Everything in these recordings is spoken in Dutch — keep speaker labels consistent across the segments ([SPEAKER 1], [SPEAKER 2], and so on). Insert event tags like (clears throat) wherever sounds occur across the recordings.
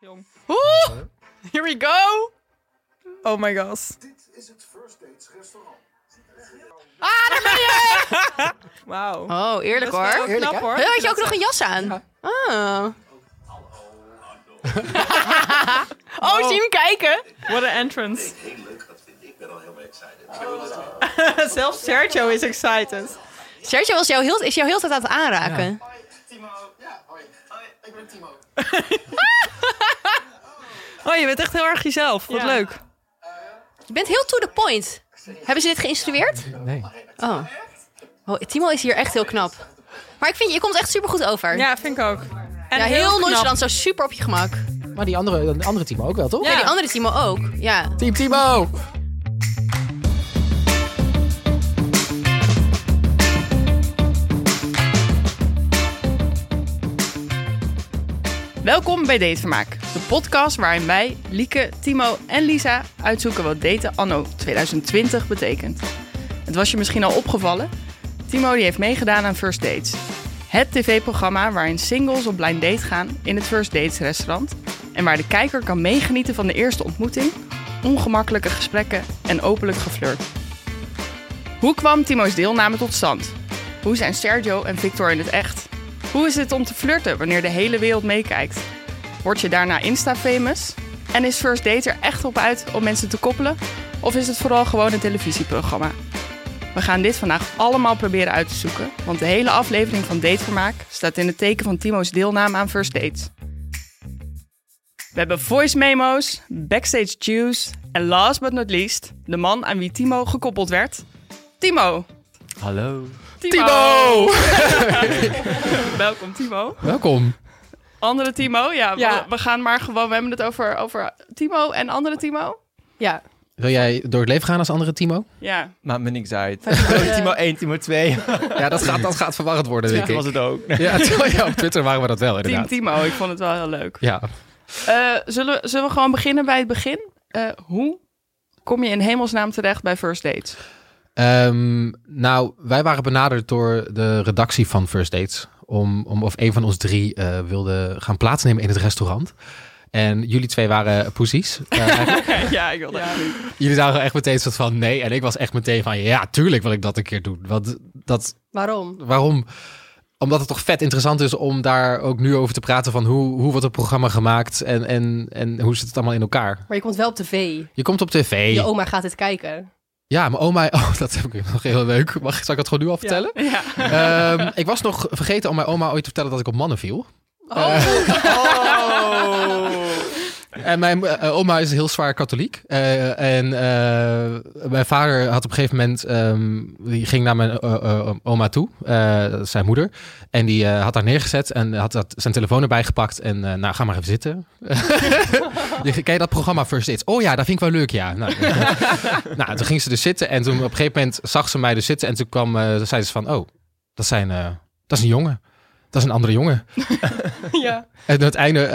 [SPEAKER 1] jong. Oeh! Here we go! Oh my god.
[SPEAKER 2] Dit is het First Dates restaurant.
[SPEAKER 1] Ah,
[SPEAKER 3] (laughs)
[SPEAKER 1] Wauw.
[SPEAKER 3] Oh, eerlijk hoor.
[SPEAKER 1] Heel knap
[SPEAKER 2] hè?
[SPEAKER 1] hoor.
[SPEAKER 3] Hey, had je ook nog een jas aan? Oh. (laughs) oh, zie je hem kijken?
[SPEAKER 1] What an entrance. (laughs) Zelfs Sergio is excited.
[SPEAKER 3] Sergio was jou heel, is jou heel de tijd aan het aanraken.
[SPEAKER 2] Timo. Ja, hoi. Hoi, ik ben Timo.
[SPEAKER 4] Oh, je bent echt heel erg jezelf. Wat
[SPEAKER 1] Ja.
[SPEAKER 4] leuk.
[SPEAKER 3] Je bent heel to the point. Hebben ze dit geïnstrueerd?
[SPEAKER 5] Nee.
[SPEAKER 3] Oh. oh. Timo is hier echt heel knap. Maar ik vind, je komt echt super goed over.
[SPEAKER 1] Ja, vind ik ook. En
[SPEAKER 3] Ja, heel
[SPEAKER 1] knap.
[SPEAKER 3] nonchalant, zo super op je gemak.
[SPEAKER 5] Maar die andere, die andere Timo ook wel, toch?
[SPEAKER 1] Ja.
[SPEAKER 3] Die andere Timo ook, ja.
[SPEAKER 5] Team Timo!
[SPEAKER 4] Welkom bij Datevermaak, de podcast waarin wij, Lieke, Timo en Lisa uitzoeken wat daten anno 2020 betekent. Het was je misschien al opgevallen, Timo die heeft meegedaan aan First Dates. Het tv-programma waarin singles op blind date gaan in het First Dates restaurant en waar de kijker kan meegenieten van de eerste ontmoeting, ongemakkelijke gesprekken en openlijk geflirt. Hoe kwam Timo's deelname tot stand? Hoe zijn Sergio en Victor in het echt? Hoe is het om te flirten wanneer de hele wereld meekijkt? Word je daarna Insta-famous? En is First Date er echt op uit om mensen te koppelen? Of is het vooral gewoon een televisieprogramma? We gaan dit vandaag allemaal proberen uit te zoeken, want de hele aflevering van Datevermaak staat in het teken van Timo's deelname aan First Dates. We hebben voice memo's, backstage juice en last but not least, de man aan wie Timo gekoppeld werd. Timo!
[SPEAKER 5] Hallo.
[SPEAKER 4] Timo!
[SPEAKER 5] Oh!
[SPEAKER 4] Welkom Timo.
[SPEAKER 5] Welkom.
[SPEAKER 4] Andere Timo, ja.
[SPEAKER 1] Ja.
[SPEAKER 4] We, we gaan maar gewoon, we hebben het over, over Timo en andere Timo.
[SPEAKER 1] Ja.
[SPEAKER 5] Wil jij door het leven gaan als andere Timo?
[SPEAKER 4] Ja,
[SPEAKER 6] Maakt me niks uit. (laughs) Timo 1, Timo 2.
[SPEAKER 5] Ja, dat gaat, dat gaat verwarrend worden, denk
[SPEAKER 6] Dat was
[SPEAKER 5] ik.
[SPEAKER 6] het ook.
[SPEAKER 5] Ja, t- ja, op Twitter waren we dat wel,
[SPEAKER 4] Team
[SPEAKER 5] inderdaad.
[SPEAKER 4] Timo. Ik vond het wel heel leuk.
[SPEAKER 5] Ja.
[SPEAKER 4] Eh, zullen, we- zullen we gewoon beginnen bij het begin? Eh, hoe kom je in hemelsnaam terecht bij First Dates?
[SPEAKER 5] Ehm, nou, wij waren benaderd door de redactie van First Dates. Om, om of een van ons drie eh, wilde gaan plaatsnemen in het restaurant. En jullie twee waren poesies. (laughs) eh,
[SPEAKER 4] (laughs)
[SPEAKER 5] eigenlijk.
[SPEAKER 4] ja, ik wilde ja.
[SPEAKER 5] jullie zagen echt meteen soort van nee. En ik was echt meteen van ja, tuurlijk wil ik dat een keer doen. Want dat,
[SPEAKER 3] Waarom?
[SPEAKER 5] waarom? Omdat het toch vet interessant is om daar ook nu over te praten van hoe, hoe wordt het programma gemaakt en, en, en hoe zit het allemaal in elkaar.
[SPEAKER 3] Maar je komt wel op tv.
[SPEAKER 5] Je komt op tv.
[SPEAKER 3] Je oma gaat het kijken.
[SPEAKER 5] Ja, mijn oma... (laughs) Oh, dat heb ik nog heel leuk. Mag, zal ik dat gewoon nu al vertellen?
[SPEAKER 4] Ja.
[SPEAKER 5] Ehm, ik was nog vergeten om mijn oma ooit te vertellen dat ik op mannen viel.
[SPEAKER 4] Oh.
[SPEAKER 5] Eh, En mijn eh, oma is heel zwaar katholiek. Eh, en eh, mijn vader had op een gegeven moment... ehm, die ging naar mijn eh, eh, oma toe, eh, dat is zijn moeder. En die eh, had haar neergezet en had dat, zijn telefoon erbij gepakt. En eh, nou, ga maar even zitten. (laughs) Die- Ken je dat programma First Dates? Oh ja, dat vind ik wel leuk, ja. Nou,
[SPEAKER 4] (laughs)
[SPEAKER 5] nou, toen ging ze dus zitten. En toen op een gegeven moment zag ze mij dus zitten. En toen kwam, eh, zei ze van... Oh, dat, zijn, eh, dat is een jongen. Dat is een andere jongen.
[SPEAKER 1] Ja.
[SPEAKER 5] En aan het einde,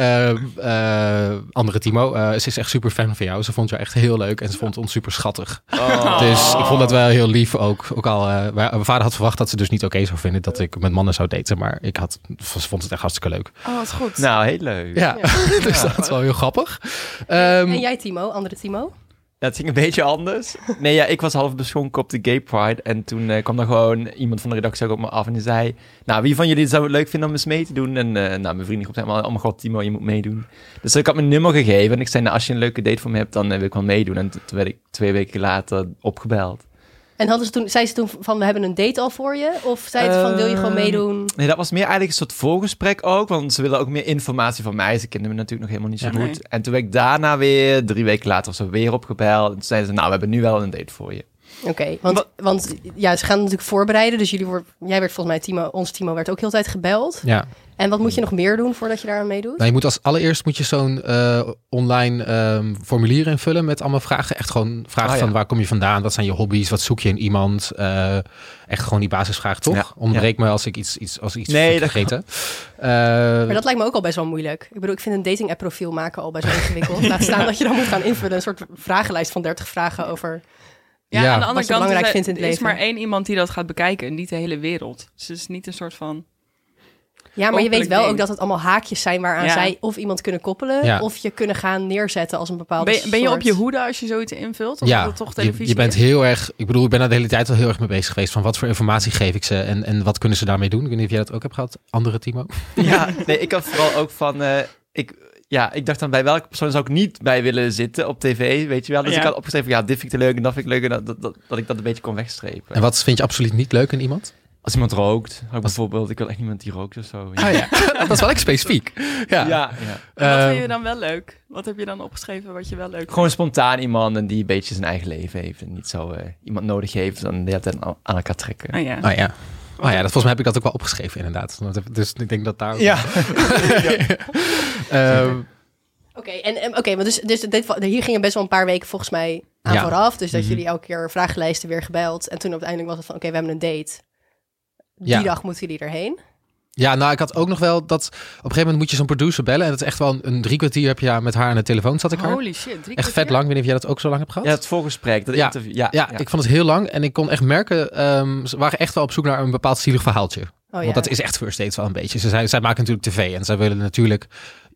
[SPEAKER 5] eh, eh, andere Timo, eh, ze is echt super fan van jou. Ze vond jou echt heel leuk en ze vond ons super schattig. Dus ik vond dat wel heel lief ook. Ook al, eh, wij- mijn vader had verwacht dat ze dus niet oké zou vinden dat ik met mannen zou daten. Maar ik had, ze vond het echt hartstikke leuk.
[SPEAKER 4] Oh, wat goed.
[SPEAKER 6] (laughs) Nou, heel leuk.
[SPEAKER 5] Ja, (laughs) dus dat is wel heel grappig. Ehm,
[SPEAKER 3] En jij Timo, andere Timo?
[SPEAKER 6] Dat ging een beetje anders. Nee, ja, ik was half beschonken op de Gay Pride. En toen eh, kwam er gewoon iemand van de redactie ook op me af. En die zei, nou, wie van jullie zou het leuk vinden om eens mee te doen? En eh, nou, mijn vrienden groep zei allemaal, oh mijn god, Timo, je moet meedoen. Dus ik had mijn nummer gegeven. En ik zei, nou, als je een leuke date voor me hebt, dan eh, wil ik wel meedoen. En toen werd ik twee weken later opgebeld.
[SPEAKER 3] En hadden ze toen, zei ze toen van, we hebben een date al voor je? Of zei het van, wil je gewoon
[SPEAKER 6] Ehm,
[SPEAKER 3] meedoen?
[SPEAKER 6] Nee, dat was meer eigenlijk een soort voorgesprek ook. Want ze wilden ook meer informatie van mij. Ze kenden me natuurlijk nog helemaal niet zo
[SPEAKER 4] Ja,
[SPEAKER 6] goed.
[SPEAKER 4] nee.
[SPEAKER 6] En toen werd ik daarna weer, drie weken later of zo, weer opgebeld. En toen zeiden ze, nou, we hebben nu wel een date voor
[SPEAKER 4] (laughs)
[SPEAKER 6] je.
[SPEAKER 3] Oké, want, want ja, ze gaan natuurlijk voorbereiden. Dus jullie wordt, jij werd volgens mij, Timo, ons Timo werd ook heel de tijd gebeld.
[SPEAKER 5] ja.
[SPEAKER 3] En wat moet je nog meer doen voordat je daar aan meedoet?
[SPEAKER 5] Nou, je moet als allereerst moet je zo'n eh, online ehm, formulier invullen met allemaal vragen. Echt gewoon vragen
[SPEAKER 6] Ah, ja.
[SPEAKER 5] van waar kom je vandaan? Wat zijn je hobby's? Wat zoek je in iemand? Eh, echt gewoon die basisvraag, toch?
[SPEAKER 6] Ja.
[SPEAKER 5] Onderbreek me als ik iets, iets, als ik iets
[SPEAKER 6] Nee,
[SPEAKER 5] nee,
[SPEAKER 6] dat
[SPEAKER 5] vergeten. Eh,
[SPEAKER 3] Maar dat lijkt me ook al best wel moeilijk. Ik bedoel, ik vind een dating app profiel maken al best wel ingewikkeld.
[SPEAKER 5] (laughs)
[SPEAKER 3] Laat staan dat je dan moet gaan invullen. Een soort vragenlijst van 30 vragen over...
[SPEAKER 4] Ja,
[SPEAKER 5] Ja.
[SPEAKER 4] aan de andere
[SPEAKER 3] Wat je
[SPEAKER 4] kant is,
[SPEAKER 3] belangrijk
[SPEAKER 4] er-
[SPEAKER 3] vindt in het
[SPEAKER 4] is
[SPEAKER 3] leven.
[SPEAKER 4] maar één iemand die dat gaat bekijken en niet de hele wereld. Dus het is niet een soort van...
[SPEAKER 3] Ja, maar je weet
[SPEAKER 4] Openlijk
[SPEAKER 3] wel
[SPEAKER 4] ding.
[SPEAKER 3] ook dat het allemaal haakjes zijn waaraan
[SPEAKER 4] Ja.
[SPEAKER 3] zij of iemand kunnen koppelen.
[SPEAKER 5] Ja.
[SPEAKER 3] Of je kunnen gaan neerzetten als een bepaalde
[SPEAKER 4] Ben, ben je op
[SPEAKER 3] soort-
[SPEAKER 4] je hoede als je zoiets invult? Of dat
[SPEAKER 5] ja,
[SPEAKER 4] het toch
[SPEAKER 5] je,
[SPEAKER 4] televisie
[SPEAKER 5] je bent
[SPEAKER 4] is?
[SPEAKER 5] heel erg... Ik bedoel, ik ben daar de hele tijd al heel erg mee bezig geweest. Van wat voor informatie geef ik ze en, en wat kunnen ze daarmee doen? Ik weet niet of jij dat ook hebt gehad, andere Timo.
[SPEAKER 6] Ja, nee, ik had vooral ook van... eh, ik, ja, ik dacht dan bij welke persoon zou ik niet bij willen zitten op tv, weet je wel. Dus
[SPEAKER 4] Ja.
[SPEAKER 6] ik had opgeschreven, ja, dit vind ik te leuk en dat vind ik leuk. En dat, dat, dat, dat ik dat een beetje kon wegstrepen.
[SPEAKER 5] En wat vind je absoluut niet leuk in iemand?
[SPEAKER 6] Als iemand rookt, had ik bijvoorbeeld, ik wil echt niemand die rookt of zo.
[SPEAKER 5] Ah ja, (laughs) dat is wel echt specifiek. Ja.
[SPEAKER 6] ja, ja.
[SPEAKER 4] En Wat vind
[SPEAKER 5] Ehm,
[SPEAKER 4] je dan wel leuk? Wat heb je dan opgeschreven wat je wel leuk vindt?
[SPEAKER 6] Gewoon spontaan iemand en die een beetje zijn eigen leven heeft. En niet zo eh, iemand nodig heeft dan de hele tijd aan aan elkaar trekken.
[SPEAKER 4] Ah, ja.
[SPEAKER 5] Oh ja. Oh ja, dat, volgens mij heb ik dat ook wel opgeschreven inderdaad. Want dat- Dus ik denk dat daar... ook- (laughs) Ehm,
[SPEAKER 3] Oké, en, en- oké, maar dus, dus dit, wa- hier gingen best wel een paar weken volgens mij aan
[SPEAKER 5] Ja.
[SPEAKER 3] vooraf. Dus dat
[SPEAKER 5] Mhm.
[SPEAKER 3] jullie elke keer vragenlijsten weer gebeld. En toen uiteindelijk was het van, oké, we hebben een date. Die
[SPEAKER 5] Ja.
[SPEAKER 3] dag moeten jullie erheen. Oh
[SPEAKER 5] ja, nou, ik had ook nog wel dat... Op een gegeven moment moet je zo'n producer bellen. En dat is echt wel een, een drie kwartier heb je daar met haar aan de telefoon zat ik haar.
[SPEAKER 4] Holy shit, drie
[SPEAKER 5] Echt vet
[SPEAKER 4] kwartier?
[SPEAKER 5] lang. Ik weet niet of jij dat ook zo lang hebt gehad.
[SPEAKER 6] Ja, het voorgesprek, dat
[SPEAKER 5] Ja.
[SPEAKER 6] interview. Ja,
[SPEAKER 5] Ja, ik vond het heel lang en ik kon echt merken, ehm, ze waren echt wel op zoek naar een bepaald zielig verhaaltje.
[SPEAKER 3] Oh, ja.
[SPEAKER 5] Want dat is echt First Dates wel een beetje. Ze zij, zij maken natuurlijk tv en zij willen natuurlijk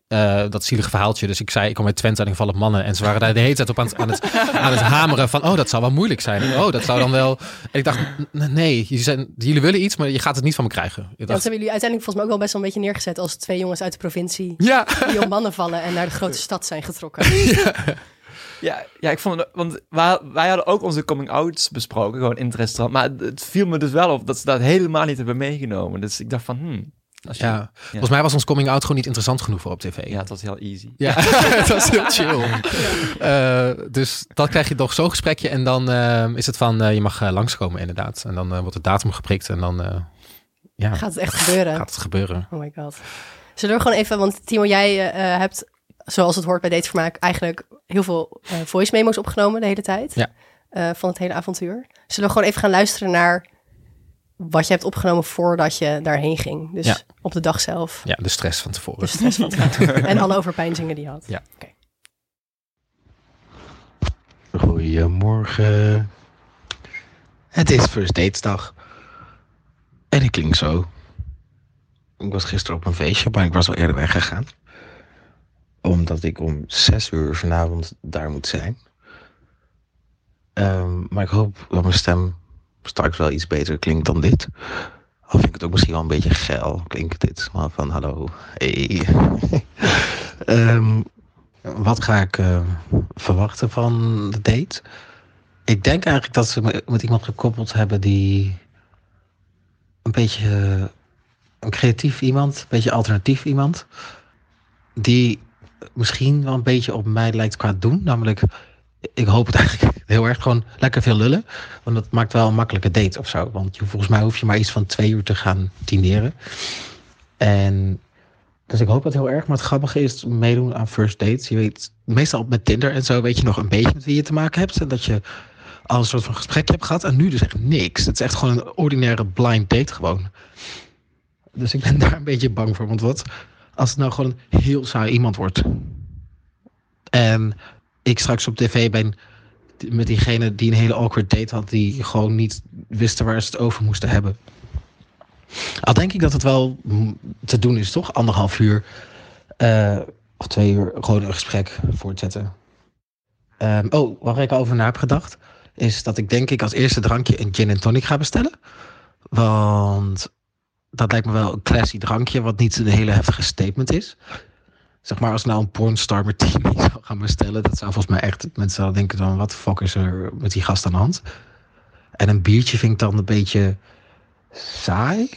[SPEAKER 5] eh, dat zielige verhaaltje. Dus ik zei, ik kom uit Twente en ik val op mannen. En ze waren daar de hele tijd op aan het, aan het, aan het hameren van, oh, dat zou wel moeilijk zijn. Oh, dat zou dan wel... En ik dacht, n- nee, jullie, zijn, jullie willen iets, maar je gaat het niet van me krijgen. Ik
[SPEAKER 3] Ja, want
[SPEAKER 5] dacht,
[SPEAKER 3] ze hebben jullie uiteindelijk volgens mij ook wel best wel een beetje neergezet als twee jongens uit de
[SPEAKER 5] (laughs)
[SPEAKER 3] provincie
[SPEAKER 5] ja,
[SPEAKER 3] die op mannen vallen en naar de grote stad zijn getrokken.
[SPEAKER 6] Ja, ja, ik vond het, want wij, wij hadden ook onze coming-outs besproken, gewoon in het restaurant. Maar het- het viel me dus wel op dat ze dat helemaal niet hebben meegenomen. Dus ik dacht van, hmm. Als je,
[SPEAKER 5] ja. Volgens mij was ons coming-out gewoon niet interessant genoeg voor op tv.
[SPEAKER 6] ja, het was heel easy.
[SPEAKER 5] Ja, (laughs) het was heel chill. Eh, dus dat krijg je toch zo'n gesprekje. En dan eh, is het van, eh, je mag eh, langskomen inderdaad. En dan eh, wordt de datum geprikt en dan eh, ja,
[SPEAKER 3] Gaat het echt gebeuren?
[SPEAKER 5] gaat het gebeuren.
[SPEAKER 3] Oh my god. Zullen we gewoon even, want Timo, jij eh, eh, hebt, zoals het hoort bij Datevermaak, eigenlijk heel veel eh, voice memo's opgenomen de hele tijd.
[SPEAKER 5] Ja.
[SPEAKER 3] eh, van het hele avontuur. Zullen we gewoon even gaan luisteren naar wat je hebt opgenomen voordat je daarheen ging. Dus
[SPEAKER 5] Ja.
[SPEAKER 3] op de dag zelf.
[SPEAKER 5] Ja, de stress van tevoren.
[SPEAKER 3] De stress van het- En alle overpeinzingen die je had.
[SPEAKER 5] Ja.
[SPEAKER 3] Oké.
[SPEAKER 7] Goedemorgen. Het is First Dates dag. En ik klink zo. Ik was gisteren op een feestje, maar ik was al eerder weggegaan. Omdat ik om zes uur vanavond daar moet zijn. Ehm, maar ik hoop dat mijn stem straks wel iets beter klinkt dan dit. Al vind ik het ook misschien wel een beetje geil klinkt dit. Maar van hallo, hey. (laughs) Ehm, wat ga ik eh, verwachten van de date? Ik denk eigenlijk dat ze me met iemand gekoppeld hebben die een beetje eh, een creatief iemand, een beetje alternatief iemand, die misschien wel een beetje op mij lijkt qua doen. Namelijk, ik hoop het eigenlijk (laughs) heel erg gewoon lekker veel lullen, want dat maakt wel een makkelijke date of zo. Want je, volgens mij hoef je maar iets van twee uur te gaan dineren. En dus ik hoop dat heel erg. Maar het grappige is meedoen aan first dates. Je weet, meestal met Tinder en zo weet je nog een beetje met wie je te maken hebt. En dat je al een soort van gesprekje hebt gehad. En nu dus echt niks. Het is echt gewoon een ordinaire blind date gewoon. Dus ik ben (laughs) daar een beetje bang voor. Want wat als het nou gewoon een heel saai iemand wordt? En ik straks op tv ben met diegene die een hele awkward date had. Die gewoon niet wisten waar ze het over moesten hebben. Al denk ik dat het wel mm, te doen is, toch? Anderhalf uur eh, of twee uur gewoon een gesprek voortzetten. Ehm, oh, waar ik al over na heb gedacht, is dat ik denk ik als eerste drankje een gin en tonic ga bestellen. Want dat lijkt me wel een classy drankje, wat niet een hele heftige statement is. Zeg maar, als ik nou een pornstar martini (laughs) zou gaan bestellen, dat zou volgens mij echt... Mensen zouden denken dan, wat de fuck is er met die gast aan de hand? En een biertje vind ik dan een beetje saai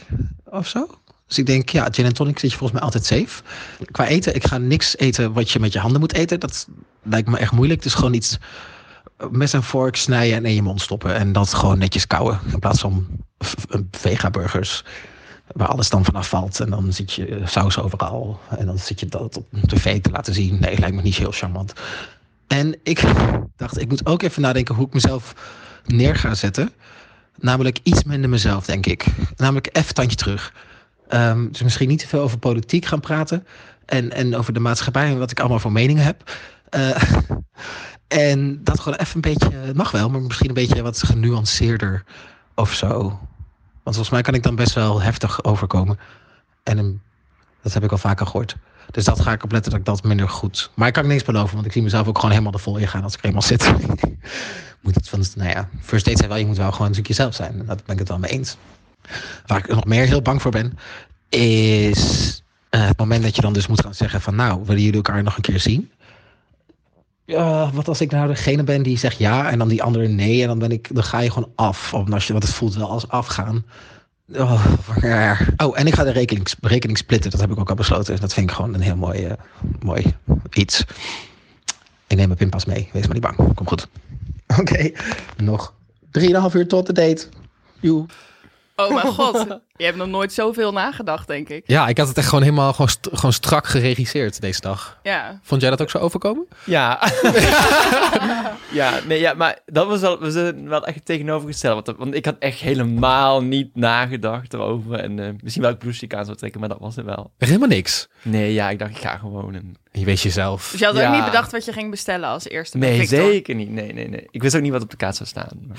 [SPEAKER 7] of zo. Dus ik denk, ja, gin en tonic zit je volgens mij altijd safe. Qua eten, ik ga niks eten wat je met je handen moet eten. Dat lijkt me echt moeilijk. Dus gewoon iets eh, mes en vork snijden en in je mond stoppen. En dat gewoon netjes kauwen In plaats van v- v- vegaburgers. Waar alles dan vanaf valt. En dan zit je eh, saus overal. En dan zit je dat op tv te laten zien. Nee, lijkt me niet heel charmant. En ik (laughs) dacht, ik moet ook even nadenken hoe ik mezelf neer ga zetten. Namelijk iets minder mezelf, denk ik. Namelijk even tandje terug. Ehm, dus misschien niet te veel over politiek gaan praten. En, en over de maatschappij en wat ik allemaal voor meningen heb. Eh, (laughs) en dat gewoon even een beetje, het mag wel, maar misschien een beetje wat genuanceerder of zo. Want volgens mij kan ik dan best wel heftig overkomen. En een Dat heb ik al vaker gehoord. Dus dat ga ik opletten dat ik dat minder goed. Maar ik kan niks beloven, want ik zie mezelf ook gewoon helemaal er vol in gaan als ik er eenmaal zit. (laughs) moet het van, nou ja, first dates zijn wel, je moet wel gewoon natuurlijk jezelf zijn. En Daar ben ik het wel mee eens. Waar ik nog meer heel bang voor ben, is eh, het moment dat je dan dus moet gaan zeggen van, nou, willen jullie elkaar nog een keer zien? Ja, wat als ik nou degene ben die zegt ja en dan die andere nee en dan ben ik, dan ga je gewoon af. Of als je, want het voelt wel als afgaan. Oh, waar. oh, en ik ga de rekening, rekening splitten. Dat heb ik ook al besloten. Dus dat vind ik gewoon een heel mooi, eh, mooi iets. Ik neem mijn pinpas mee. Wees maar niet bang. Kom goed. Oké, nog 3,5 uur tot de date. Joe.
[SPEAKER 4] Oh mijn god, je hebt nog nooit zoveel nagedacht, denk ik.
[SPEAKER 5] Ja, ik had het echt gewoon helemaal gewoon, st- gewoon strak geregisseerd deze dag.
[SPEAKER 4] Ja,
[SPEAKER 5] Vond jij dat ook zo overkomen?
[SPEAKER 6] Ja. (laughs) ja, nee, ja, maar dat was wel, we zijn wel echt tegenovergesteld. Want, dat- want ik had echt helemaal niet nagedacht erover. En eh, misschien wel ik blouse die ik aan zou trekken, maar dat was het wel.
[SPEAKER 5] Echt Helemaal niks.
[SPEAKER 6] Nee, ja, ik dacht, ik ga gewoon. En...
[SPEAKER 5] Je weet jezelf.
[SPEAKER 4] dus je had ook
[SPEAKER 6] Ja.
[SPEAKER 4] niet bedacht wat je ging bestellen als eerste. bij
[SPEAKER 6] Nee,
[SPEAKER 4] Victor.
[SPEAKER 6] zeker niet. Nee, nee, nee. Ik wist ook niet wat op de kaart zou staan. maar-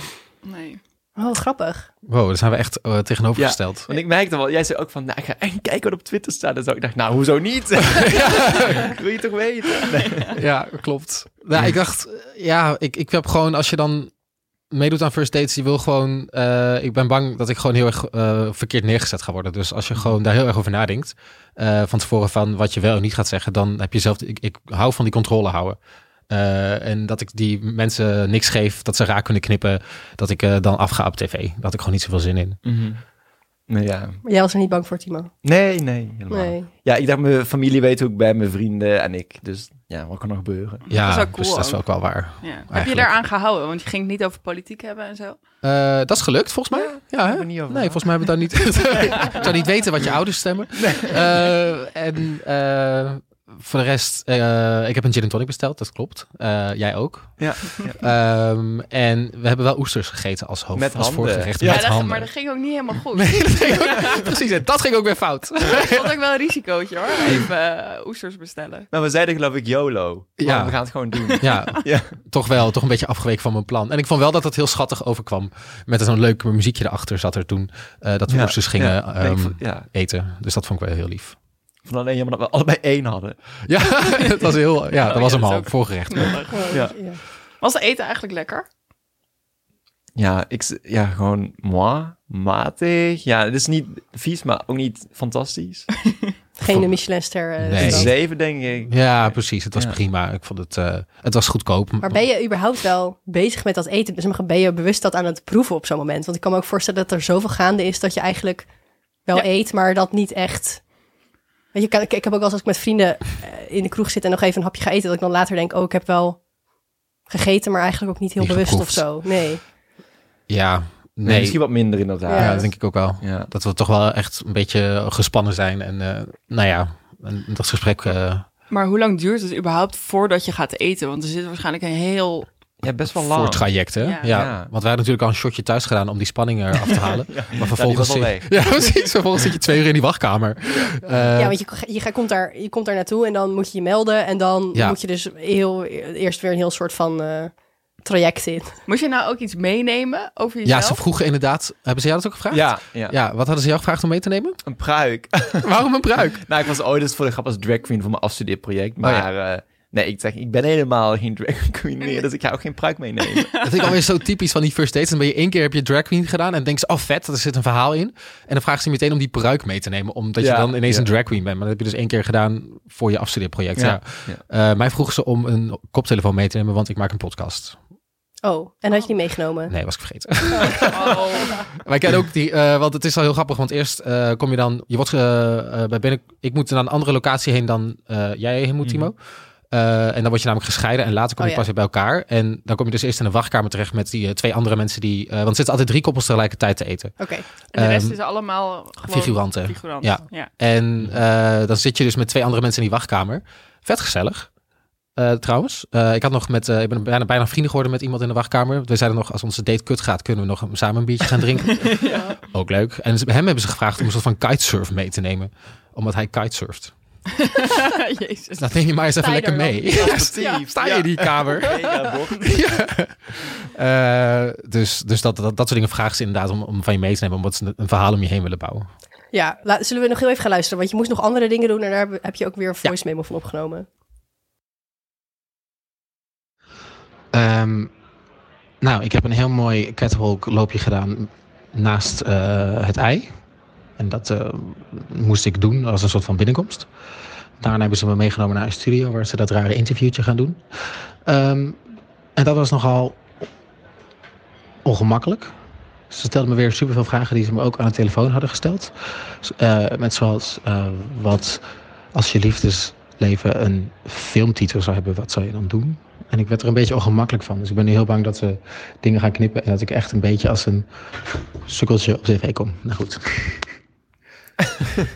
[SPEAKER 4] Nee.
[SPEAKER 3] Oh, grappig.
[SPEAKER 5] Wow, daar zijn we echt eh, tegenovergesteld.
[SPEAKER 6] Want ik merkte wel, jij zei ook van, nou, ik ga echt kijken wat op Twitter staat. En zo. Ik dacht, nou, hoezo (laughs) niet? Ik Wil je toch weten?
[SPEAKER 5] Ja, klopt. Nou, ik dacht, eh, ja, ik, ik heb gewoon, als je dan meedoet aan first dates, je wil gewoon, eh, ik ben bang dat ik gewoon heel erg eh, verkeerd neergezet ga worden. Dus als je gewoon daar heel erg over nadenkt, eh, van tevoren van wat je wel en niet gaat zeggen, dan heb je zelf, ik, ik hou van die controle houden. Eh, en dat ik die mensen niks geef, dat ze raak kunnen knippen, dat ik eh, dan afga op tv. Daar had ik gewoon niet zoveel zin in.
[SPEAKER 6] Mhm. Nee, Nou ja.
[SPEAKER 3] Maar jij was er niet bang voor, Timo?
[SPEAKER 6] nee, nee,
[SPEAKER 5] Nou.
[SPEAKER 6] helemaal
[SPEAKER 3] Nee.
[SPEAKER 6] niet. Ja, ik dacht, mijn familie weet ook bij mijn vrienden en ik. Dus ja, wat kan er gebeuren?
[SPEAKER 5] Ja,
[SPEAKER 4] is wel cool
[SPEAKER 5] dus dat is
[SPEAKER 4] ook.
[SPEAKER 5] ook wel waar.
[SPEAKER 4] Ja. Heb je
[SPEAKER 5] Eigenlijk.
[SPEAKER 4] daaraan gehouden? Want je ging het niet over politiek hebben en zo.
[SPEAKER 5] Eh, dat is gelukt, volgens mij. Ja, hè?
[SPEAKER 6] er niet over
[SPEAKER 5] nee, volgens mij hebben we
[SPEAKER 6] (laughs)
[SPEAKER 5] daar niet... (laughs) ik zou niet weten wat je ouders stemmen. Eh, en eh, voor de rest, eh, ik heb een gin en tonic besteld, dat klopt. Eh, jij ook.
[SPEAKER 6] Ja.
[SPEAKER 5] Ehm, en we hebben wel oesters gegeten als hoofd.
[SPEAKER 6] Met
[SPEAKER 5] als
[SPEAKER 6] handen.
[SPEAKER 5] voorgerecht,
[SPEAKER 6] Ja,
[SPEAKER 5] met
[SPEAKER 4] dat,
[SPEAKER 5] handen.
[SPEAKER 4] maar dat ging ook niet helemaal goed.
[SPEAKER 5] Nee, dat ging ook- (laughs) precies, en dat ging ook weer fout.
[SPEAKER 6] (laughs)
[SPEAKER 4] Ik vond ook wel een risicootje hoor. Even eh, oesters bestellen.
[SPEAKER 6] Maar we zeiden geloof ik YOLO.
[SPEAKER 5] Ja.
[SPEAKER 6] Ja. We gaan het gewoon doen.
[SPEAKER 5] Ja,
[SPEAKER 6] Ja.
[SPEAKER 5] toch wel. Toch een beetje afgeweken van mijn plan. En ik vond wel dat het heel schattig overkwam. Met zo'n leuk muziekje erachter zat er toen. eh, dat we oesters gingen
[SPEAKER 6] Ja. Nee, ik
[SPEAKER 5] ehm,
[SPEAKER 6] vond- ja.
[SPEAKER 5] eten. Dus dat vond ik wel heel lief.
[SPEAKER 6] Ik vond alleen jammer dat we allebei één hadden.
[SPEAKER 5] Ja, (laughs) dat was heel. Ja, dat
[SPEAKER 4] ja,
[SPEAKER 5] was
[SPEAKER 4] dat
[SPEAKER 5] hem
[SPEAKER 4] is
[SPEAKER 5] al.
[SPEAKER 4] ook-
[SPEAKER 5] Voorgerecht.
[SPEAKER 3] Oh,
[SPEAKER 6] Ja.
[SPEAKER 3] ja.
[SPEAKER 4] Was het eten eigenlijk lekker?
[SPEAKER 6] Ja, ik, z- ja gewoon moi, matig. Ja, het is niet vies, maar ook niet fantastisch.
[SPEAKER 3] Geen Michelinster. eh,
[SPEAKER 5] (laughs) Nee.
[SPEAKER 6] Een
[SPEAKER 3] restaurant.
[SPEAKER 6] zeven, denk ik.
[SPEAKER 5] Ja, precies. Het was
[SPEAKER 6] Ja.
[SPEAKER 5] prima. Ik vond het. eh, het was goedkoop.
[SPEAKER 3] Maar ben je überhaupt wel bezig met dat eten? Dus ben je bewust dat aan het proeven op zo'n moment? Want ik kan me ook voorstellen dat er zoveel gaande is dat je eigenlijk wel
[SPEAKER 4] Ja.
[SPEAKER 3] eet, maar dat niet echt. Weet je, ik, ik- ik heb ook wel eens als ik met vrienden eh, in de kroeg zit en nog even een hapje ga eten, dat ik dan later denk, oh, ik heb wel gegeten, maar eigenlijk ook niet heel
[SPEAKER 5] Niet
[SPEAKER 3] bewust
[SPEAKER 5] geproefd.
[SPEAKER 3] of zo. Nee.
[SPEAKER 5] Ja, nee.
[SPEAKER 6] Nee, misschien wat minder inderdaad.
[SPEAKER 5] ja,
[SPEAKER 6] Ja.
[SPEAKER 5] dat denk ik ook wel.
[SPEAKER 6] Ja.
[SPEAKER 5] Dat we toch wel echt een beetje gespannen zijn. En eh, nou ja, en dat gesprek.
[SPEAKER 6] Ah.
[SPEAKER 5] eh,
[SPEAKER 4] Maar hoe lang duurt het überhaupt voordat je gaat eten? Want er zit waarschijnlijk een heel...
[SPEAKER 6] best wel
[SPEAKER 5] voor
[SPEAKER 6] lang.
[SPEAKER 5] het traject, hè? Ja.
[SPEAKER 4] Ja.
[SPEAKER 6] Ja.
[SPEAKER 5] Want wij hadden natuurlijk al een shotje thuis gedaan om die spanning eraf
[SPEAKER 6] (laughs)
[SPEAKER 5] te halen. Maar vervolgens.
[SPEAKER 6] was al
[SPEAKER 5] zit- (laughs) ja, precies. Vervolgens zit je twee uur in die wachtkamer. Eh,
[SPEAKER 3] ja, want je, je, gaat- komt daar, je komt daar naartoe en dan moet je je melden en dan
[SPEAKER 5] Ja.
[SPEAKER 3] moet je dus heel, eerst weer een heel soort van eh, traject in.
[SPEAKER 4] Moest je nou ook iets meenemen over
[SPEAKER 5] ja,
[SPEAKER 4] jezelf?
[SPEAKER 5] ze vroegen inderdaad. Hebben ze jou dat ook gevraagd?
[SPEAKER 6] Ja, ja.
[SPEAKER 5] Ja, wat hadden ze jou gevraagd om mee te
[SPEAKER 6] (laughs)
[SPEAKER 5] nemen?
[SPEAKER 6] een pruik.
[SPEAKER 5] Waarom een pruik?
[SPEAKER 6] nou, ik was ooit eens voor de grap als drag queen voor mijn afstudeerproject.
[SPEAKER 5] Oh ja.
[SPEAKER 6] Maar eh, nee, ik zeg, ik ben helemaal geen drag (laughs) queen meer. Dus ik ga ook geen pruik
[SPEAKER 5] (laughs)
[SPEAKER 6] meenemen.
[SPEAKER 5] Dat vind ik alweer zo typisch van die first dates. Dan ben je één keer heb je drag queen gedaan en denk je, oh vet, er zit een verhaal in. En dan vragen ze je meteen om die peruik mee te nemen, omdat je
[SPEAKER 6] Ja,
[SPEAKER 5] dan ineens
[SPEAKER 6] ja.
[SPEAKER 5] een drag queen bent. Maar dat heb je dus één keer gedaan voor je afstudeerproject. Ja.
[SPEAKER 6] Ja,
[SPEAKER 5] Eh, mij vroegen ze om een koptelefoon mee te nemen, want ik maak een podcast.
[SPEAKER 3] Oh, en had je die meegenomen?
[SPEAKER 5] Nee, was ik vergeten.
[SPEAKER 4] Oh.
[SPEAKER 5] Wij
[SPEAKER 3] (clears throat)
[SPEAKER 5] kennen ook die, eh, want het is al heel grappig, want eerst eh, kom je dan, je wordt eh, eh, bij binnen, ik moet naar een andere locatie heen dan eh, jij heen moet, Timo. Eh, en dan word je namelijk gescheiden en later kom
[SPEAKER 3] Mhm. Oh,
[SPEAKER 5] je
[SPEAKER 3] ja.
[SPEAKER 5] pas weer bij elkaar. En dan kom je dus eerst in een wachtkamer terecht met die eh, twee andere mensen die, eh, want er zitten altijd drie koppels tegelijkertijd te eten.
[SPEAKER 3] Oké.
[SPEAKER 4] En de rest
[SPEAKER 5] Ehm,
[SPEAKER 4] is allemaal gewoon...
[SPEAKER 5] figuranten.
[SPEAKER 4] figurant.
[SPEAKER 5] Ja.
[SPEAKER 4] ja.
[SPEAKER 3] Mhm.
[SPEAKER 5] En eh, dan zit je dus met twee andere mensen in die wachtkamer. Vet gezellig. Eh, trouwens, Eh, ik had nog met, eh, ik ben bijna, bijna vrienden geworden met iemand in de wachtkamer. We zeiden nog, als onze date kut gaat, kunnen we nog samen een
[SPEAKER 3] (laughs)
[SPEAKER 5] biertje gaan drinken. Ook leuk. En ze- hem hebben ze gevraagd om een soort van kitesurf mee te nemen. Omdat hij kitesurft.
[SPEAKER 3] (laughs)
[SPEAKER 4] Jezus.
[SPEAKER 5] Nou, neem je maar eens even
[SPEAKER 3] Sta je
[SPEAKER 5] lekker
[SPEAKER 3] daar
[SPEAKER 5] mee. (laughs)
[SPEAKER 3] dan?
[SPEAKER 5] Ja, sta- sta je in die kamer. (laughs) Ja. Eh, dus dus dat, dat, dat soort dingen vragen ze inderdaad om, om van je mee te nemen. Omdat ze een, een verhaal om je heen willen bouwen.
[SPEAKER 3] Ja, la- zullen we nog heel even gaan luisteren? Want je moest nog andere dingen doen en daar heb- heb je ook weer een voice memo van opgenomen.
[SPEAKER 5] Ehm, nou, ik heb een heel mooi catwalk loopje gedaan naast eh, het ei. En dat eh, moest ik doen als een soort van binnenkomst. Daarna hebben ze me meegenomen naar een studio waar ze dat rare interviewtje gaan doen. Ehm, en dat was nogal ongemakkelijk. Ze stelden me weer superveel vragen die ze me ook aan de telefoon hadden gesteld. Z- eh, met zoals eh, wat als je liefdesleven een filmtitel zou hebben, wat zou je dan doen? En ik werd er een beetje ongemakkelijk van. Dus ik ben nu heel bang dat ze dingen gaan knippen. En dat ik echt een beetje als een sukkeltje op tv kom. Nou goed.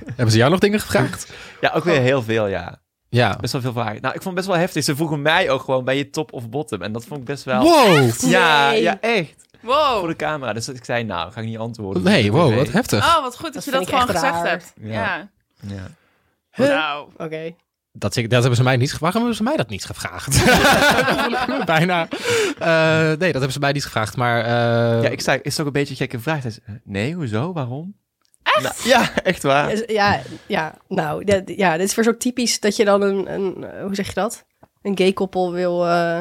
[SPEAKER 5] Hebben ze jou nog dingen
[SPEAKER 3] (laughs)
[SPEAKER 5] gevraagd?
[SPEAKER 6] Ja, ook weer heel veel, ja.
[SPEAKER 5] Ja.
[SPEAKER 6] Best wel veel vragen. Nou, ik vond het best wel heftig. Ze vroegen mij ook gewoon, ben je top of bottom? En dat vond ik best wel...
[SPEAKER 5] Wow.
[SPEAKER 6] Ja,
[SPEAKER 3] Nee.
[SPEAKER 6] ja, echt. Voor
[SPEAKER 4] Wow.
[SPEAKER 6] de camera. Dus dat ik zei, nou, ga ik niet antwoorden.
[SPEAKER 5] Nee, wow,
[SPEAKER 6] Nee.
[SPEAKER 5] wat heftig.
[SPEAKER 4] Oh, wat goed dat,
[SPEAKER 3] Dat
[SPEAKER 4] je
[SPEAKER 3] vind
[SPEAKER 4] dat
[SPEAKER 3] ik echt
[SPEAKER 4] gewoon gezegd
[SPEAKER 3] raar.
[SPEAKER 4] hebt.
[SPEAKER 6] Ja.
[SPEAKER 4] Ja.
[SPEAKER 6] Ja.
[SPEAKER 4] Nou.
[SPEAKER 3] Oké.
[SPEAKER 5] Dat, ik- dat hebben ze mij niet gevraagd. Waarom hebben ze mij dat niet (laughs) gevraagd? Bijna. Eh, nee, dat hebben ze mij niet gevraagd. Maar eh,
[SPEAKER 6] Ja, ik zei, is het ook een beetje een gekke vraag? Hij zei, nee, hoezo, waarom? Echt? ja, echt waar.
[SPEAKER 3] Ja, Dus, Ja, ja, nou, dat- ja, dit is weer zo typisch dat je dan een, een eh, hoe zeg je dat? Een gay koppel wil eh,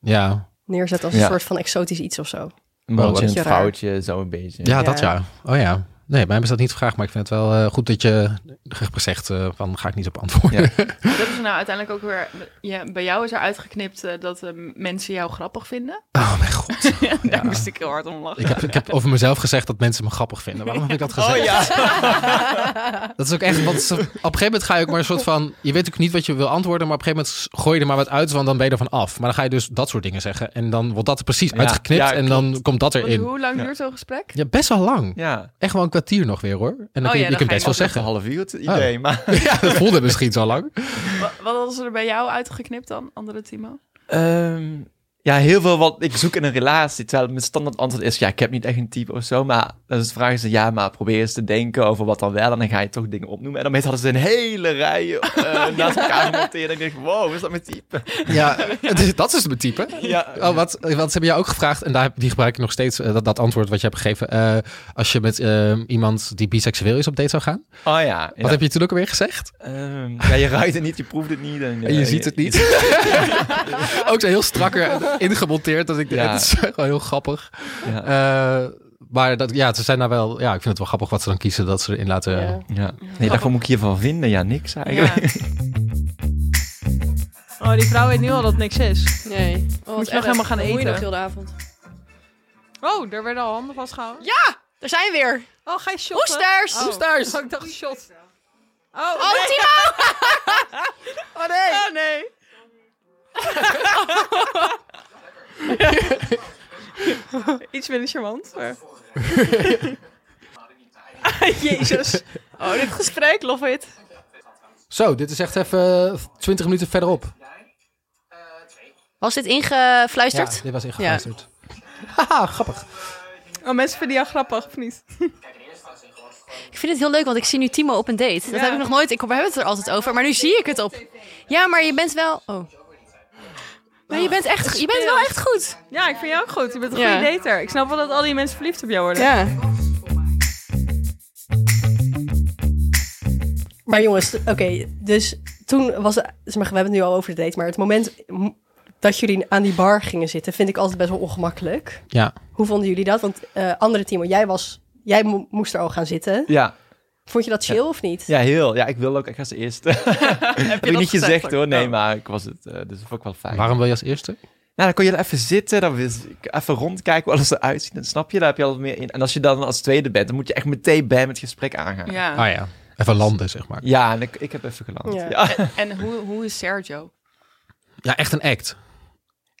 [SPEAKER 5] ja.
[SPEAKER 3] neerzetten als een
[SPEAKER 6] Ja.
[SPEAKER 3] soort van exotisch iets of zo.
[SPEAKER 6] Maar
[SPEAKER 5] Wow,
[SPEAKER 6] wat
[SPEAKER 5] wat
[SPEAKER 6] een
[SPEAKER 3] raar.
[SPEAKER 6] foutje, zo een beetje.
[SPEAKER 5] Ja,
[SPEAKER 3] Ja.
[SPEAKER 5] dat ja. Oh ja. Nee, mij hebben ze dat niet gevraagd, maar ik vind het wel eh, goed dat je hebt gezegd eh, van ga ik niet op antwoorden.
[SPEAKER 6] Ja.
[SPEAKER 4] Dat is nou uiteindelijk ook weer... Ja, bij jou is er uitgeknipt eh, dat eh, mensen jou grappig vinden.
[SPEAKER 5] Oh mijn god.
[SPEAKER 4] Daar
[SPEAKER 5] (laughs) Ja.
[SPEAKER 4] moest ik heel hard om lachen.
[SPEAKER 5] Ik heb, ik heb over mezelf gezegd dat mensen me grappig vinden. Waarom heb ik
[SPEAKER 4] Oh,
[SPEAKER 5] dat gezegd? (laughs) Dat is ook echt, want ze- op een gegeven moment ga je ook maar een soort van, je weet ook niet wat je wil antwoorden, maar op een gegeven moment gooi je er maar wat uit, want dan ben je er van af. Maar dan ga je dus dat soort dingen zeggen en dan wordt dat er precies
[SPEAKER 6] Ja,
[SPEAKER 5] uitgeknipt
[SPEAKER 6] ja,
[SPEAKER 5] en dan komt dat
[SPEAKER 4] Want
[SPEAKER 5] erin.
[SPEAKER 4] hoe lang
[SPEAKER 6] Ja.
[SPEAKER 4] duurt zo'n gesprek?
[SPEAKER 5] Ja, best wel lang.
[SPEAKER 6] Ja,
[SPEAKER 5] Echt wel een kwartier nog weer hoor. En dan
[SPEAKER 4] Oh
[SPEAKER 5] kun je,
[SPEAKER 4] ja,
[SPEAKER 5] je
[SPEAKER 4] dan
[SPEAKER 5] kunt
[SPEAKER 4] ga je
[SPEAKER 5] best wel
[SPEAKER 4] nog
[SPEAKER 6] echt een
[SPEAKER 5] zeggen.
[SPEAKER 6] half uur het idee, maar...
[SPEAKER 5] (laughs) Ja, dat voelde misschien zo
[SPEAKER 6] (laughs)
[SPEAKER 5] lang.
[SPEAKER 4] Wa- Wat hadden ze er bij jou uitgeknipt dan, andere Timo?
[SPEAKER 6] Ehm, ja, heel veel wat ik zoek in een relatie. Terwijl mijn standaard antwoord is: ja, ik heb niet echt een type of zo. Maar dan is de vraag: is, ja, maar probeer eens te denken over wat dan wel. En dan ga je toch dingen opnoemen. En daarmee hadden ze een hele rij eh, (laughs) naast elkaar genoteerd. En ik dacht: wow, is dat mijn type?
[SPEAKER 5] Ja, het is- (laughs) dat is mijn type.
[SPEAKER 6] Ja,
[SPEAKER 5] Oh, wat, wat ze hebben jou ook gevraagd, en daar, die gebruik ik nog steeds, eh, dat, dat antwoord wat je hebt gegeven. eh, als je met eh, iemand die biseksueel is op date zou gaan.
[SPEAKER 6] Oh ja.
[SPEAKER 5] Wat
[SPEAKER 6] Ja.
[SPEAKER 5] heb je toen ook alweer gezegd?
[SPEAKER 6] Ehm, ja, je ruikt het niet, je proeft het niet. En,
[SPEAKER 5] En
[SPEAKER 6] eh,
[SPEAKER 5] je ziet het
[SPEAKER 6] (laughs)
[SPEAKER 5] niet. ook zo heel strakker ingemonteerd. Dat ik,
[SPEAKER 6] Ja.
[SPEAKER 5] Het is gewoon heel grappig.
[SPEAKER 6] Ja.
[SPEAKER 5] Eh, maar dat, ja, ze zijn daar wel, ja, ik vind het wel grappig wat ze dan kiezen dat ze erin laten.
[SPEAKER 3] Ja.
[SPEAKER 6] Ja. Nee, daarvoor moet ik hiervan vinden. Ja, niks eigenlijk.
[SPEAKER 8] Oh, die vrouw weet nu al dat het niks is.
[SPEAKER 3] Nee.
[SPEAKER 8] Moet je nog helemaal gaan eten.
[SPEAKER 3] heel de avond.
[SPEAKER 8] Oh, daar werden al handen vastgehouden.
[SPEAKER 3] Daar zijn we weer.
[SPEAKER 8] Oh, ga je shotten?
[SPEAKER 3] Oesters!
[SPEAKER 8] Oh.
[SPEAKER 3] Oesters!
[SPEAKER 8] Oh, ik dacht shot. Oh,
[SPEAKER 3] Oh,
[SPEAKER 8] nee.
[SPEAKER 3] Timo!
[SPEAKER 4] (laughs) Oh nee! Oh nee! (laughs) Iets minder charmant. Maar... Jezus. Oh, dit gesprek, love it.
[SPEAKER 5] Zo, dit is echt even 20 minuten verderop.
[SPEAKER 3] Was dit ingefluisterd?
[SPEAKER 5] Ja, dit was ingefluisterd. Haha, grappig.
[SPEAKER 4] Oh, mensen vinden jou grappig, of niet?
[SPEAKER 9] Ik vind het heel leuk, want ik zie nu Timo op een date. Dat
[SPEAKER 4] Ja.
[SPEAKER 9] heb ik nog nooit. Ik, we hebben het er altijd over, maar nu zie ik het op. Ja, maar je bent wel. Oh. Maar je bent, echt, je bent wel echt goed.
[SPEAKER 8] Ja, ik vind jou ook goed. Je bent een
[SPEAKER 9] Ja.
[SPEAKER 8] goede dater. Ik snap wel dat al die mensen verliefd op jou worden.
[SPEAKER 3] Ja. Maar jongens, oké, dus toen was het, zeg maar, we hebben het nu al over de date, maar het moment m- dat jullie aan die bar gingen zitten, vind ik altijd best wel ongemakkelijk.
[SPEAKER 5] Ja.
[SPEAKER 3] Hoe vonden jullie dat? Want eh, andere Timo, jij was, jij mo- moest er al gaan zitten.
[SPEAKER 6] Ja,
[SPEAKER 3] Vond je dat chill of niet?
[SPEAKER 6] ja, heel. Ja, ik wil ook echt als (laughs) eerste. heb ik
[SPEAKER 4] dat
[SPEAKER 6] niet
[SPEAKER 4] gezegd
[SPEAKER 6] gezegd
[SPEAKER 4] ook?
[SPEAKER 6] hoor. Nee,
[SPEAKER 4] Oh.
[SPEAKER 6] maar ik was het. eh, dus dat vond ik wel fijn.
[SPEAKER 5] Waarom wil je als eerste?
[SPEAKER 6] Nou, dan kon je er even zitten, dan wist ik even rondkijken hoe alles eruit ziet. Dan snap je, daar heb je al wat meer in. En als je dan als tweede bent, dan moet je echt meteen bij het gesprek aangaan. Ja,
[SPEAKER 4] Ja.
[SPEAKER 5] Ah ja, even landen zeg maar.
[SPEAKER 6] en ik, ik heb even geland.
[SPEAKER 3] Ja.
[SPEAKER 6] Ja.
[SPEAKER 4] En hoe, hoe is Sergio?
[SPEAKER 5] Ja, echt een act.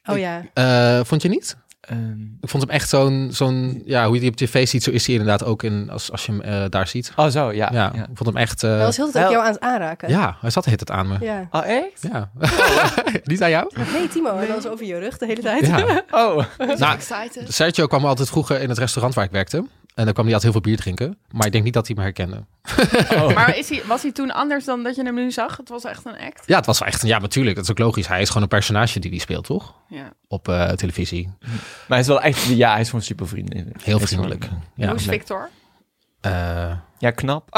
[SPEAKER 3] Oh ja.
[SPEAKER 5] Eh, vond je niet?
[SPEAKER 6] Ehm,
[SPEAKER 5] Ik vond hem echt zo'n, zo'n ja, hoe je die op tv ziet, zo is hij inderdaad ook in, als, als je hem eh, daar ziet.
[SPEAKER 6] oh, zo, ja.
[SPEAKER 5] Ja,
[SPEAKER 6] ja.
[SPEAKER 5] ik vond hem echt, eh,
[SPEAKER 3] Hij was heel de tijd
[SPEAKER 6] wel-
[SPEAKER 3] jou aan het aanraken.
[SPEAKER 5] ja, hij zat het aan me.
[SPEAKER 3] Ja.
[SPEAKER 6] Oh, echt?
[SPEAKER 5] Ja. (laughs) niet aan jou?
[SPEAKER 3] Nee, Timo, en dan zo over je rug de hele (laughs) tijd.
[SPEAKER 5] Ja.
[SPEAKER 6] Oh,
[SPEAKER 5] Nou,
[SPEAKER 4] Excited.
[SPEAKER 5] Sergio kwam altijd vroeger in het restaurant waar ik werkte. En dan kwam hij altijd heel veel bier drinken. Maar ik denk niet dat hij me herkende.
[SPEAKER 4] Maar is hij, was hij toen anders dan dat je hem nu zag? Het was echt een act.
[SPEAKER 5] Ja, het was wel echt, een- ja, natuurlijk. Dat is ook logisch. Hij is gewoon een personage die hij speelt, toch?
[SPEAKER 4] Ja.
[SPEAKER 5] Op eh, televisie.
[SPEAKER 6] maar hij is wel echt, ja, hij is gewoon super vriendelijk.
[SPEAKER 5] Heel vriendelijk.
[SPEAKER 4] Hoe
[SPEAKER 5] Ja.
[SPEAKER 4] is Victor?
[SPEAKER 5] Eh,
[SPEAKER 6] Ja, knap.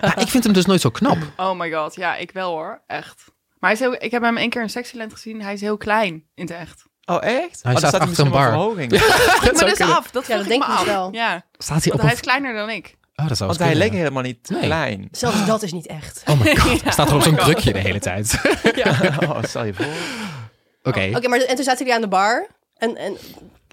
[SPEAKER 5] Ja, ik vind hem dus nooit zo knap.
[SPEAKER 4] Oh my god, ja, ik wel hoor. Echt. Maar hij is heel, ik heb hem één keer in Sexyland gezien. Hij is heel klein in het echt.
[SPEAKER 6] Oh, echt?
[SPEAKER 5] Hij staat
[SPEAKER 6] Oh, dan staat
[SPEAKER 5] achter
[SPEAKER 6] misschien
[SPEAKER 5] een
[SPEAKER 6] wel
[SPEAKER 5] bar.
[SPEAKER 6] verhoging.
[SPEAKER 4] maar
[SPEAKER 3] dus
[SPEAKER 4] dat is af. Dat
[SPEAKER 3] Ja,
[SPEAKER 4] vroeg
[SPEAKER 3] dat denk
[SPEAKER 4] ik
[SPEAKER 3] ik
[SPEAKER 4] me
[SPEAKER 3] dus
[SPEAKER 4] af.
[SPEAKER 3] wel.
[SPEAKER 4] Ja,
[SPEAKER 5] Staat hij
[SPEAKER 4] want
[SPEAKER 5] op een...
[SPEAKER 4] hij is kleiner dan ik.
[SPEAKER 5] Oh, dat zou
[SPEAKER 6] Want
[SPEAKER 5] eens kunnen,
[SPEAKER 6] hij leek
[SPEAKER 5] ja.
[SPEAKER 6] helemaal niet
[SPEAKER 5] Nee. (laughs)
[SPEAKER 6] klein.
[SPEAKER 3] Zelfs dat is niet echt.
[SPEAKER 5] Oh my god, staat er op zo'n krukje de hele tijd. Oké.
[SPEAKER 6] Oh, stel je voor.
[SPEAKER 3] Oké, maar en toen zaten jullie aan de bar. En, en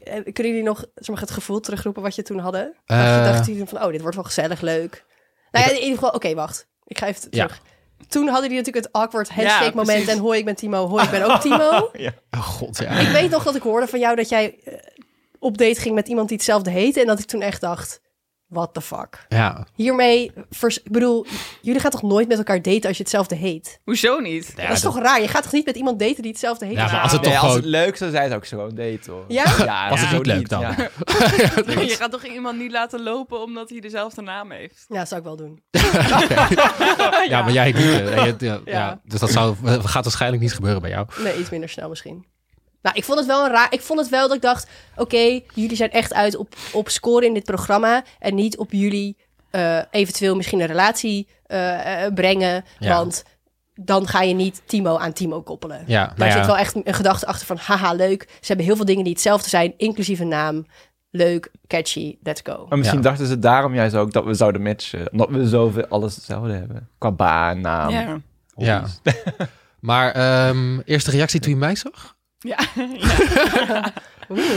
[SPEAKER 3] eh, kunnen jullie nog zeg maar, het gevoel terugroepen wat je toen hadden?
[SPEAKER 5] Eh.
[SPEAKER 3] Uh, dachten jullie van, oh, dit wordt wel gezellig, leuk. Nou ja, in ieder geval, oké, wacht. Ik ga even
[SPEAKER 5] Ja.
[SPEAKER 3] terug. Toen hadden jullie natuurlijk het awkward handshake
[SPEAKER 4] Ja,
[SPEAKER 3] moment.
[SPEAKER 4] precies.
[SPEAKER 3] En hoi, ik ben Timo. Hoi, ik ben ook
[SPEAKER 5] (laughs)
[SPEAKER 3] Timo.
[SPEAKER 5] Oh god, ja.
[SPEAKER 3] ik weet nog dat ik hoorde van jou dat jij eh, op date ging met iemand die hetzelfde heette. En dat ik toen echt dacht, what the fuck.
[SPEAKER 5] Ja,
[SPEAKER 3] Hiermee, vers, ik bedoel, jullie gaan toch nooit met elkaar daten als je hetzelfde heet?
[SPEAKER 4] (laughs)
[SPEAKER 8] Hoezo niet?
[SPEAKER 5] Ja,
[SPEAKER 3] dat is
[SPEAKER 5] dat-
[SPEAKER 3] toch raar? Je gaat toch niet met iemand daten die hetzelfde heet?
[SPEAKER 5] ja maar als het
[SPEAKER 6] Nee,
[SPEAKER 5] toch
[SPEAKER 6] als
[SPEAKER 5] gewoon...
[SPEAKER 6] het leuk zou zijn, zou ik ze gewoon daten, hoor.
[SPEAKER 3] Ja?
[SPEAKER 5] Was het
[SPEAKER 6] zo
[SPEAKER 5] niet leuk dan?
[SPEAKER 6] ja.
[SPEAKER 8] Je gaat toch iemand niet laten lopen omdat hij dezelfde naam heeft?
[SPEAKER 3] Ja, zou ik wel doen.
[SPEAKER 5] ja, maar jij... niet, eh, ja, ja,
[SPEAKER 3] Ja.
[SPEAKER 5] Dus dat zou, gaat waarschijnlijk niet gebeuren bij jou.
[SPEAKER 3] Nee, iets minder snel misschien. Nou, ik vond het wel een raar. Ik vond het wel dat ik dacht: oké, jullie zijn echt uit op, op scoren in dit programma. En niet op jullie eh, eventueel misschien een relatie eh, eh, brengen.
[SPEAKER 5] Ja.
[SPEAKER 3] Want dan ga je niet Timo aan Timo koppelen.
[SPEAKER 5] Ja,
[SPEAKER 3] Daar
[SPEAKER 5] nou ja.
[SPEAKER 3] zit wel echt een gedachte achter van: haha, leuk. Ze hebben heel veel dingen die hetzelfde zijn, inclusief een naam. Leuk, catchy, let's go.
[SPEAKER 6] Maar misschien
[SPEAKER 5] Ja.
[SPEAKER 6] dachten ze daarom juist ook dat we zouden matchen. Omdat we zoveel alles hetzelfde hebben. Qua baan, naam,
[SPEAKER 4] Ja.
[SPEAKER 5] Ja.
[SPEAKER 6] hobby's.
[SPEAKER 5] (laughs) Maar ehm, eerste reactie toen je mij (laughs) zag?
[SPEAKER 4] Ja.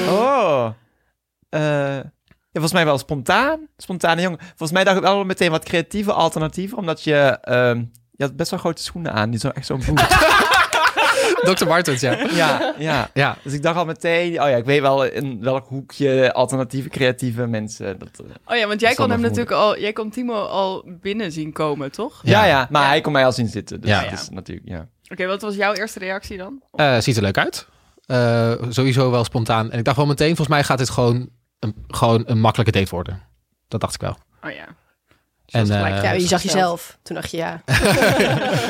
[SPEAKER 6] Oh. Eh, ja, volgens mij wel spontaan. Spontane jongen. Volgens mij dacht ik wel meteen wat creatieve alternatieven. Omdat je... ehm, je had best wel grote schoenen aan. Die zo echt zo'n (laughs) boot.
[SPEAKER 5] Dr. Martens, ja.
[SPEAKER 6] ja, ja.
[SPEAKER 5] Ja,
[SPEAKER 6] Dus ik dacht al meteen... Oh ja, ik weet wel in welk hoekje alternatieve creatieve mensen... Dat, eh,
[SPEAKER 4] Oh ja, want jij
[SPEAKER 6] Dat zal
[SPEAKER 4] kon hem
[SPEAKER 6] wel
[SPEAKER 4] natuurlijk al... Jij kon Timo al binnen zien komen, toch?
[SPEAKER 5] Ja.
[SPEAKER 6] ja. ja, Maar hij kon mij al zien zitten. Dus
[SPEAKER 5] Ja.
[SPEAKER 6] dat is natuurlijk... Ja.
[SPEAKER 4] Oké, wat was jouw eerste reactie dan?
[SPEAKER 5] Eh, ziet er leuk uit. Eh, sowieso wel spontaan. En ik dacht wel meteen, volgens mij gaat dit gewoon een, gewoon een makkelijke date worden. Dat dacht ik wel.
[SPEAKER 4] Oh ja.
[SPEAKER 5] En,
[SPEAKER 4] gelijk.
[SPEAKER 5] eh,
[SPEAKER 3] ja, je zag
[SPEAKER 4] gesteld.
[SPEAKER 3] jezelf. Toen dacht je ja.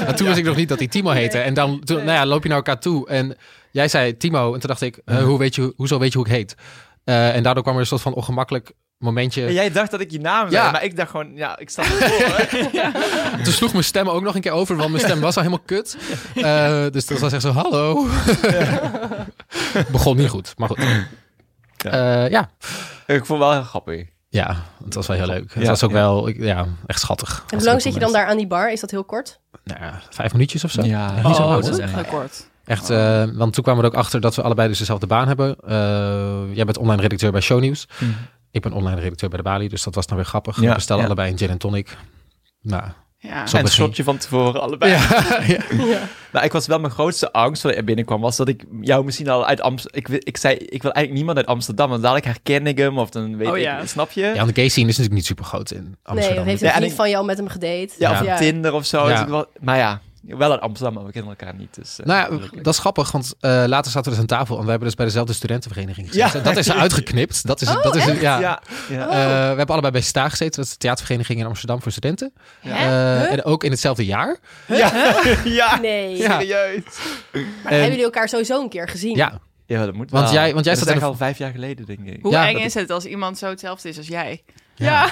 [SPEAKER 5] en toen wist ik nog niet dat hij Timo heette. En dan toen, nou ja, loop je naar elkaar toe. En jij zei Timo. En toen dacht ik, eh, hoe weet je, hoezo weet je hoe ik heet? Eh, en daardoor kwam er een soort van ongemakkelijk momentje.
[SPEAKER 6] Ja, jij dacht dat ik je naam zei.
[SPEAKER 5] Ja.
[SPEAKER 6] Maar ik dacht gewoon... Ja, ik sta ervoor.
[SPEAKER 5] Toen sloeg mijn stem ook nog een keer over, want mijn stem was al helemaal kut. Eh, dus toen was echt zo, hallo. Begon niet goed, maar goed. Eh, ja.
[SPEAKER 6] (laughs) ik vond het wel heel grappig.
[SPEAKER 5] ja, het was wel heel leuk. Het
[SPEAKER 6] Ja,
[SPEAKER 5] was ook
[SPEAKER 6] ja.
[SPEAKER 5] wel, ik- ja, echt schattig.
[SPEAKER 3] En hoe lang zit je dan daar aan die bar? Is dat heel kort?
[SPEAKER 5] Nou, ja, vijf minuutjes of zo.
[SPEAKER 6] Ja.
[SPEAKER 5] Niet zo
[SPEAKER 4] Oh,
[SPEAKER 5] lang,
[SPEAKER 4] dat is
[SPEAKER 5] hoor.
[SPEAKER 4] echt heel kort.
[SPEAKER 5] Echt, eh, want toen kwamen we er ook achter dat we allebei dus dezelfde baan hebben. Eh, jij bent online redacteur bij Shownieuws.
[SPEAKER 6] Mhm.
[SPEAKER 5] Ik ben online redacteur bij de Bali, dus dat was dan weer grappig.
[SPEAKER 6] Ja,
[SPEAKER 5] we bestelden
[SPEAKER 6] ja.
[SPEAKER 5] allebei een gin en tonic.
[SPEAKER 6] (laughs)
[SPEAKER 5] Nou,
[SPEAKER 4] Ja.
[SPEAKER 5] Zo
[SPEAKER 6] en een
[SPEAKER 5] begin.
[SPEAKER 6] shotje van tevoren, allebei.
[SPEAKER 5] ja.
[SPEAKER 6] Nou, ik was wel mijn grootste angst toen ik er binnenkwam, was dat ik jou misschien al uit Amsterdam... Ik, wi- ik zei, ik wil eigenlijk niemand uit Amsterdam, want dadelijk herken ik hem of dan weet
[SPEAKER 4] Oh,
[SPEAKER 6] ik...
[SPEAKER 4] ja.
[SPEAKER 6] Snap je?
[SPEAKER 5] ja, want de gay scene is natuurlijk niet super groot in
[SPEAKER 3] Nee,
[SPEAKER 5] Amsterdam.
[SPEAKER 3] of heeft
[SPEAKER 6] Ja,
[SPEAKER 3] een
[SPEAKER 6] en
[SPEAKER 3] vriend
[SPEAKER 6] ik-
[SPEAKER 3] van je al met hem gedate?
[SPEAKER 6] Ja, of
[SPEAKER 5] Ja.
[SPEAKER 6] Tinder of zo.
[SPEAKER 5] Ja.
[SPEAKER 6] Dus ik wel- maar ja, wel uit Amsterdam, maar we kennen elkaar niet. Dus, eh,
[SPEAKER 5] Nou ja,
[SPEAKER 6] gelukkig.
[SPEAKER 5] dat is grappig, want eh, later zaten we dus aan tafel en we hebben dus bij dezelfde studentenvereniging gezeten.
[SPEAKER 6] Ja.
[SPEAKER 5] En Dat is uitgeknipt. Dat is, dat is, ja.
[SPEAKER 6] ja. ja,
[SPEAKER 5] Eh,
[SPEAKER 6] ja.
[SPEAKER 5] we hebben allebei bij STA gezeten, dat is de theatervereniging in Amsterdam voor studenten. Eh, En ook in hetzelfde jaar.
[SPEAKER 3] Nee.
[SPEAKER 5] Ja.
[SPEAKER 6] serieus.
[SPEAKER 3] Maar hebben jullie elkaar sowieso een keer gezien?
[SPEAKER 5] Ehm, Ja,
[SPEAKER 6] Ja, dat moet
[SPEAKER 5] Want
[SPEAKER 6] wel.
[SPEAKER 5] jij- want jij
[SPEAKER 6] dat
[SPEAKER 5] zat in
[SPEAKER 6] is
[SPEAKER 5] de-
[SPEAKER 6] echt al vijf jaar geleden, denk ik.
[SPEAKER 4] Hoe
[SPEAKER 5] Ja,
[SPEAKER 4] eng
[SPEAKER 5] dat-
[SPEAKER 4] is het als iemand zo hetzelfde is als jij?
[SPEAKER 6] Ja.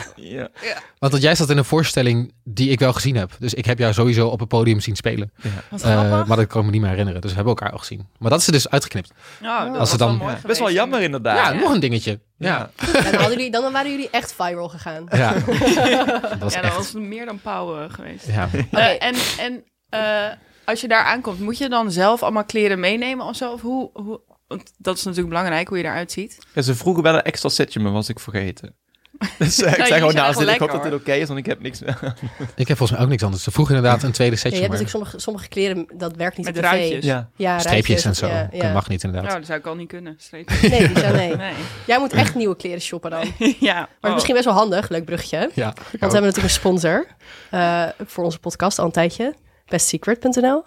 [SPEAKER 5] want jij zat in een voorstelling die ik wel gezien heb. Dus ik heb jou sowieso op een podium zien spelen.
[SPEAKER 4] Wat
[SPEAKER 5] Eh,
[SPEAKER 4] grappig.
[SPEAKER 5] maar dat kan ik me niet meer herinneren. Dus we hebben elkaar al gezien. Maar dat is er dus uitgeknipt.
[SPEAKER 4] Nou, dat
[SPEAKER 5] als
[SPEAKER 4] was
[SPEAKER 5] het
[SPEAKER 4] wel
[SPEAKER 5] dan-
[SPEAKER 4] mooi
[SPEAKER 5] Ja.
[SPEAKER 6] Best wel
[SPEAKER 4] geweest.
[SPEAKER 6] jammer, inderdaad.
[SPEAKER 5] Ja, nog een dingetje. Ja.
[SPEAKER 3] En dan, hadden jullie, dan waren jullie echt viral
[SPEAKER 5] (laughs)
[SPEAKER 3] gegaan.
[SPEAKER 5] ja. dat was
[SPEAKER 4] Ja, dat
[SPEAKER 5] echt...
[SPEAKER 4] was meer dan pauw eh, geweest.
[SPEAKER 5] Ja.
[SPEAKER 4] Eh, en en eh, als je daar aankomt, moet je dan zelf allemaal kleren meenemen of zo? Of hoe, hoe, want dat is natuurlijk belangrijk, hoe je eruit ziet.
[SPEAKER 6] Ja, ze vroegen wel een extra setje, maar was ik (laughs) vergeten. Dus eh, ik
[SPEAKER 4] jullie
[SPEAKER 6] zei
[SPEAKER 4] zijn
[SPEAKER 6] gewoon
[SPEAKER 4] echt
[SPEAKER 6] naast dit, ik
[SPEAKER 4] lekker,
[SPEAKER 6] hoop dat dit
[SPEAKER 4] hoor.
[SPEAKER 6] oké is, want ik heb niks meer.
[SPEAKER 5] Ik heb volgens mij ook niks anders. Ze vroegen inderdaad een tweede
[SPEAKER 3] Ja,
[SPEAKER 5] setje,
[SPEAKER 3] je hebt
[SPEAKER 5] maar
[SPEAKER 3] natuurlijk sommige, sommige kleren, dat werkt niet
[SPEAKER 4] Met
[SPEAKER 3] op tv.
[SPEAKER 4] ruitjes.
[SPEAKER 6] Ja.
[SPEAKER 3] Ja, ruitjes,
[SPEAKER 5] streepjes en zo.
[SPEAKER 3] ja, ja.
[SPEAKER 5] Dat mag niet inderdaad.
[SPEAKER 4] Nou, dat zou ik al niet kunnen. strepen.
[SPEAKER 3] Nee, die zijn-
[SPEAKER 5] (laughs)
[SPEAKER 3] nee.
[SPEAKER 4] Nee.
[SPEAKER 3] Jij moet echt nieuwe kleren shoppen dan. Maar het
[SPEAKER 4] (laughs) ja.
[SPEAKER 3] is
[SPEAKER 4] oh.
[SPEAKER 3] misschien best wel handig, leuk bruggetje. Want
[SPEAKER 5] Ja, ik
[SPEAKER 3] we
[SPEAKER 5] ook.
[SPEAKER 3] hebben natuurlijk een sponsor eh, voor onze podcast al een tijdje. Bestsecret.nl.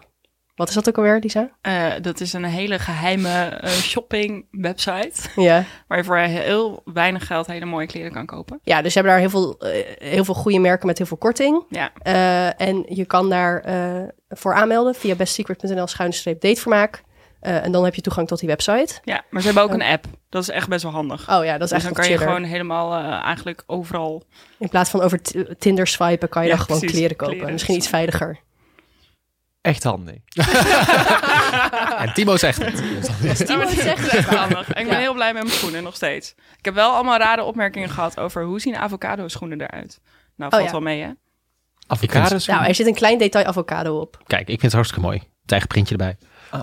[SPEAKER 3] Wat is dat ook alweer, Lisa?
[SPEAKER 4] Eh, dat is een hele geheime eh, shopping website.
[SPEAKER 3] Ja.
[SPEAKER 4] Waar je voor heel weinig geld hele mooie kleren kan kopen.
[SPEAKER 3] Ja, dus ze hebben daar heel veel, eh, heel veel goede merken met heel veel korting.
[SPEAKER 4] Ja.
[SPEAKER 3] Eh, en je kan daar eh, voor aanmelden via bestsecret.nl schuine streep datevermaak. Eh, en dan heb je toegang tot die website.
[SPEAKER 8] Ja, maar ze hebben ook een app. Dat is echt best wel handig.
[SPEAKER 3] Oh ja, dat is
[SPEAKER 8] dus
[SPEAKER 3] eigenlijk
[SPEAKER 8] dan kan
[SPEAKER 3] nog
[SPEAKER 8] je
[SPEAKER 3] chiller.
[SPEAKER 8] gewoon helemaal eh, eigenlijk overal.
[SPEAKER 3] In plaats van over t- Tinder swipen, kan je
[SPEAKER 8] Ja,
[SPEAKER 3] dan gewoon
[SPEAKER 8] precies.
[SPEAKER 3] kleren kopen.
[SPEAKER 8] Kleren,
[SPEAKER 3] Misschien iets veiliger.
[SPEAKER 6] (laughs) Echt handig.
[SPEAKER 5] En Timo zegt (laughs) het.
[SPEAKER 3] (laughs) Nou,
[SPEAKER 8] Ja, maar het is (laughs) echt echt handig. En ik ben heel blij met mijn schoenen nog steeds. Ik heb wel allemaal rare opmerkingen gehad over hoe zien avocado schoenen eruit. Nou,
[SPEAKER 3] Oh, ja.
[SPEAKER 8] valt wel mee, hè?
[SPEAKER 5] Avocados.
[SPEAKER 3] Nou, er zit een klein detail avocado op.
[SPEAKER 5] Kijk, ik vind het hartstikke mooi. Het eigen printje erbij.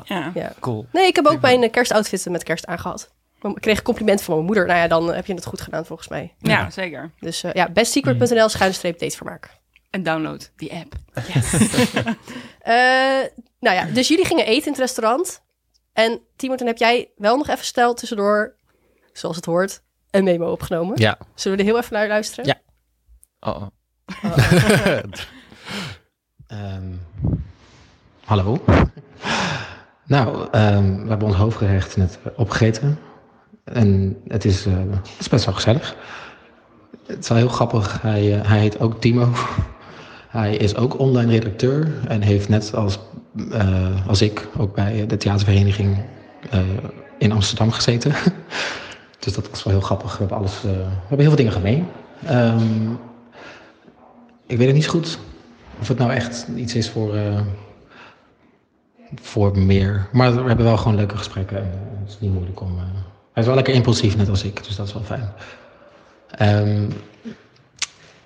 [SPEAKER 8] Ja.
[SPEAKER 6] Cool.
[SPEAKER 3] Nee, ik heb ook mijn eh, kerstoutfits met kerst aangehad. Ik kreeg een compliment van mijn moeder. Nou ja, dan eh, heb je het goed gedaan volgens mij.
[SPEAKER 8] Ja, zeker.
[SPEAKER 3] Dus eh, ja, bestsecret.nl schuinstreep datevermaak.
[SPEAKER 8] En download die app.
[SPEAKER 3] Eh, nou ja, dus jullie gingen eten in het restaurant. En Timo, toen heb jij wel nog even stel tussendoor, zoals het hoort, een memo opgenomen.
[SPEAKER 5] Ja.
[SPEAKER 3] Zullen we er heel even naar luisteren?
[SPEAKER 5] Ja.
[SPEAKER 6] Oh, oh.
[SPEAKER 7] Ehm, hallo. Nou, ehm, we hebben ons hoofdgerecht net opgegeten. En het is, eh, het is best wel gezellig. Het is wel heel grappig. Hij, eh, hij heet ook Timo. (laughs) Hij is ook online redacteur en heeft net als, eh, als ik ook bij de theatervereniging eh, in Amsterdam gezeten. (laughs) Dus dat was wel heel grappig. We hebben, alles, eh, we hebben heel veel dingen gemeen. Ehm, ik weet het niet zo goed of het nou echt iets is voor, eh, voor meer. Maar we hebben wel gewoon leuke gesprekken. En, eh, het is niet moeilijk om. eh, hij is wel lekker impulsief, net als ik, dus dat is wel fijn. Ehm,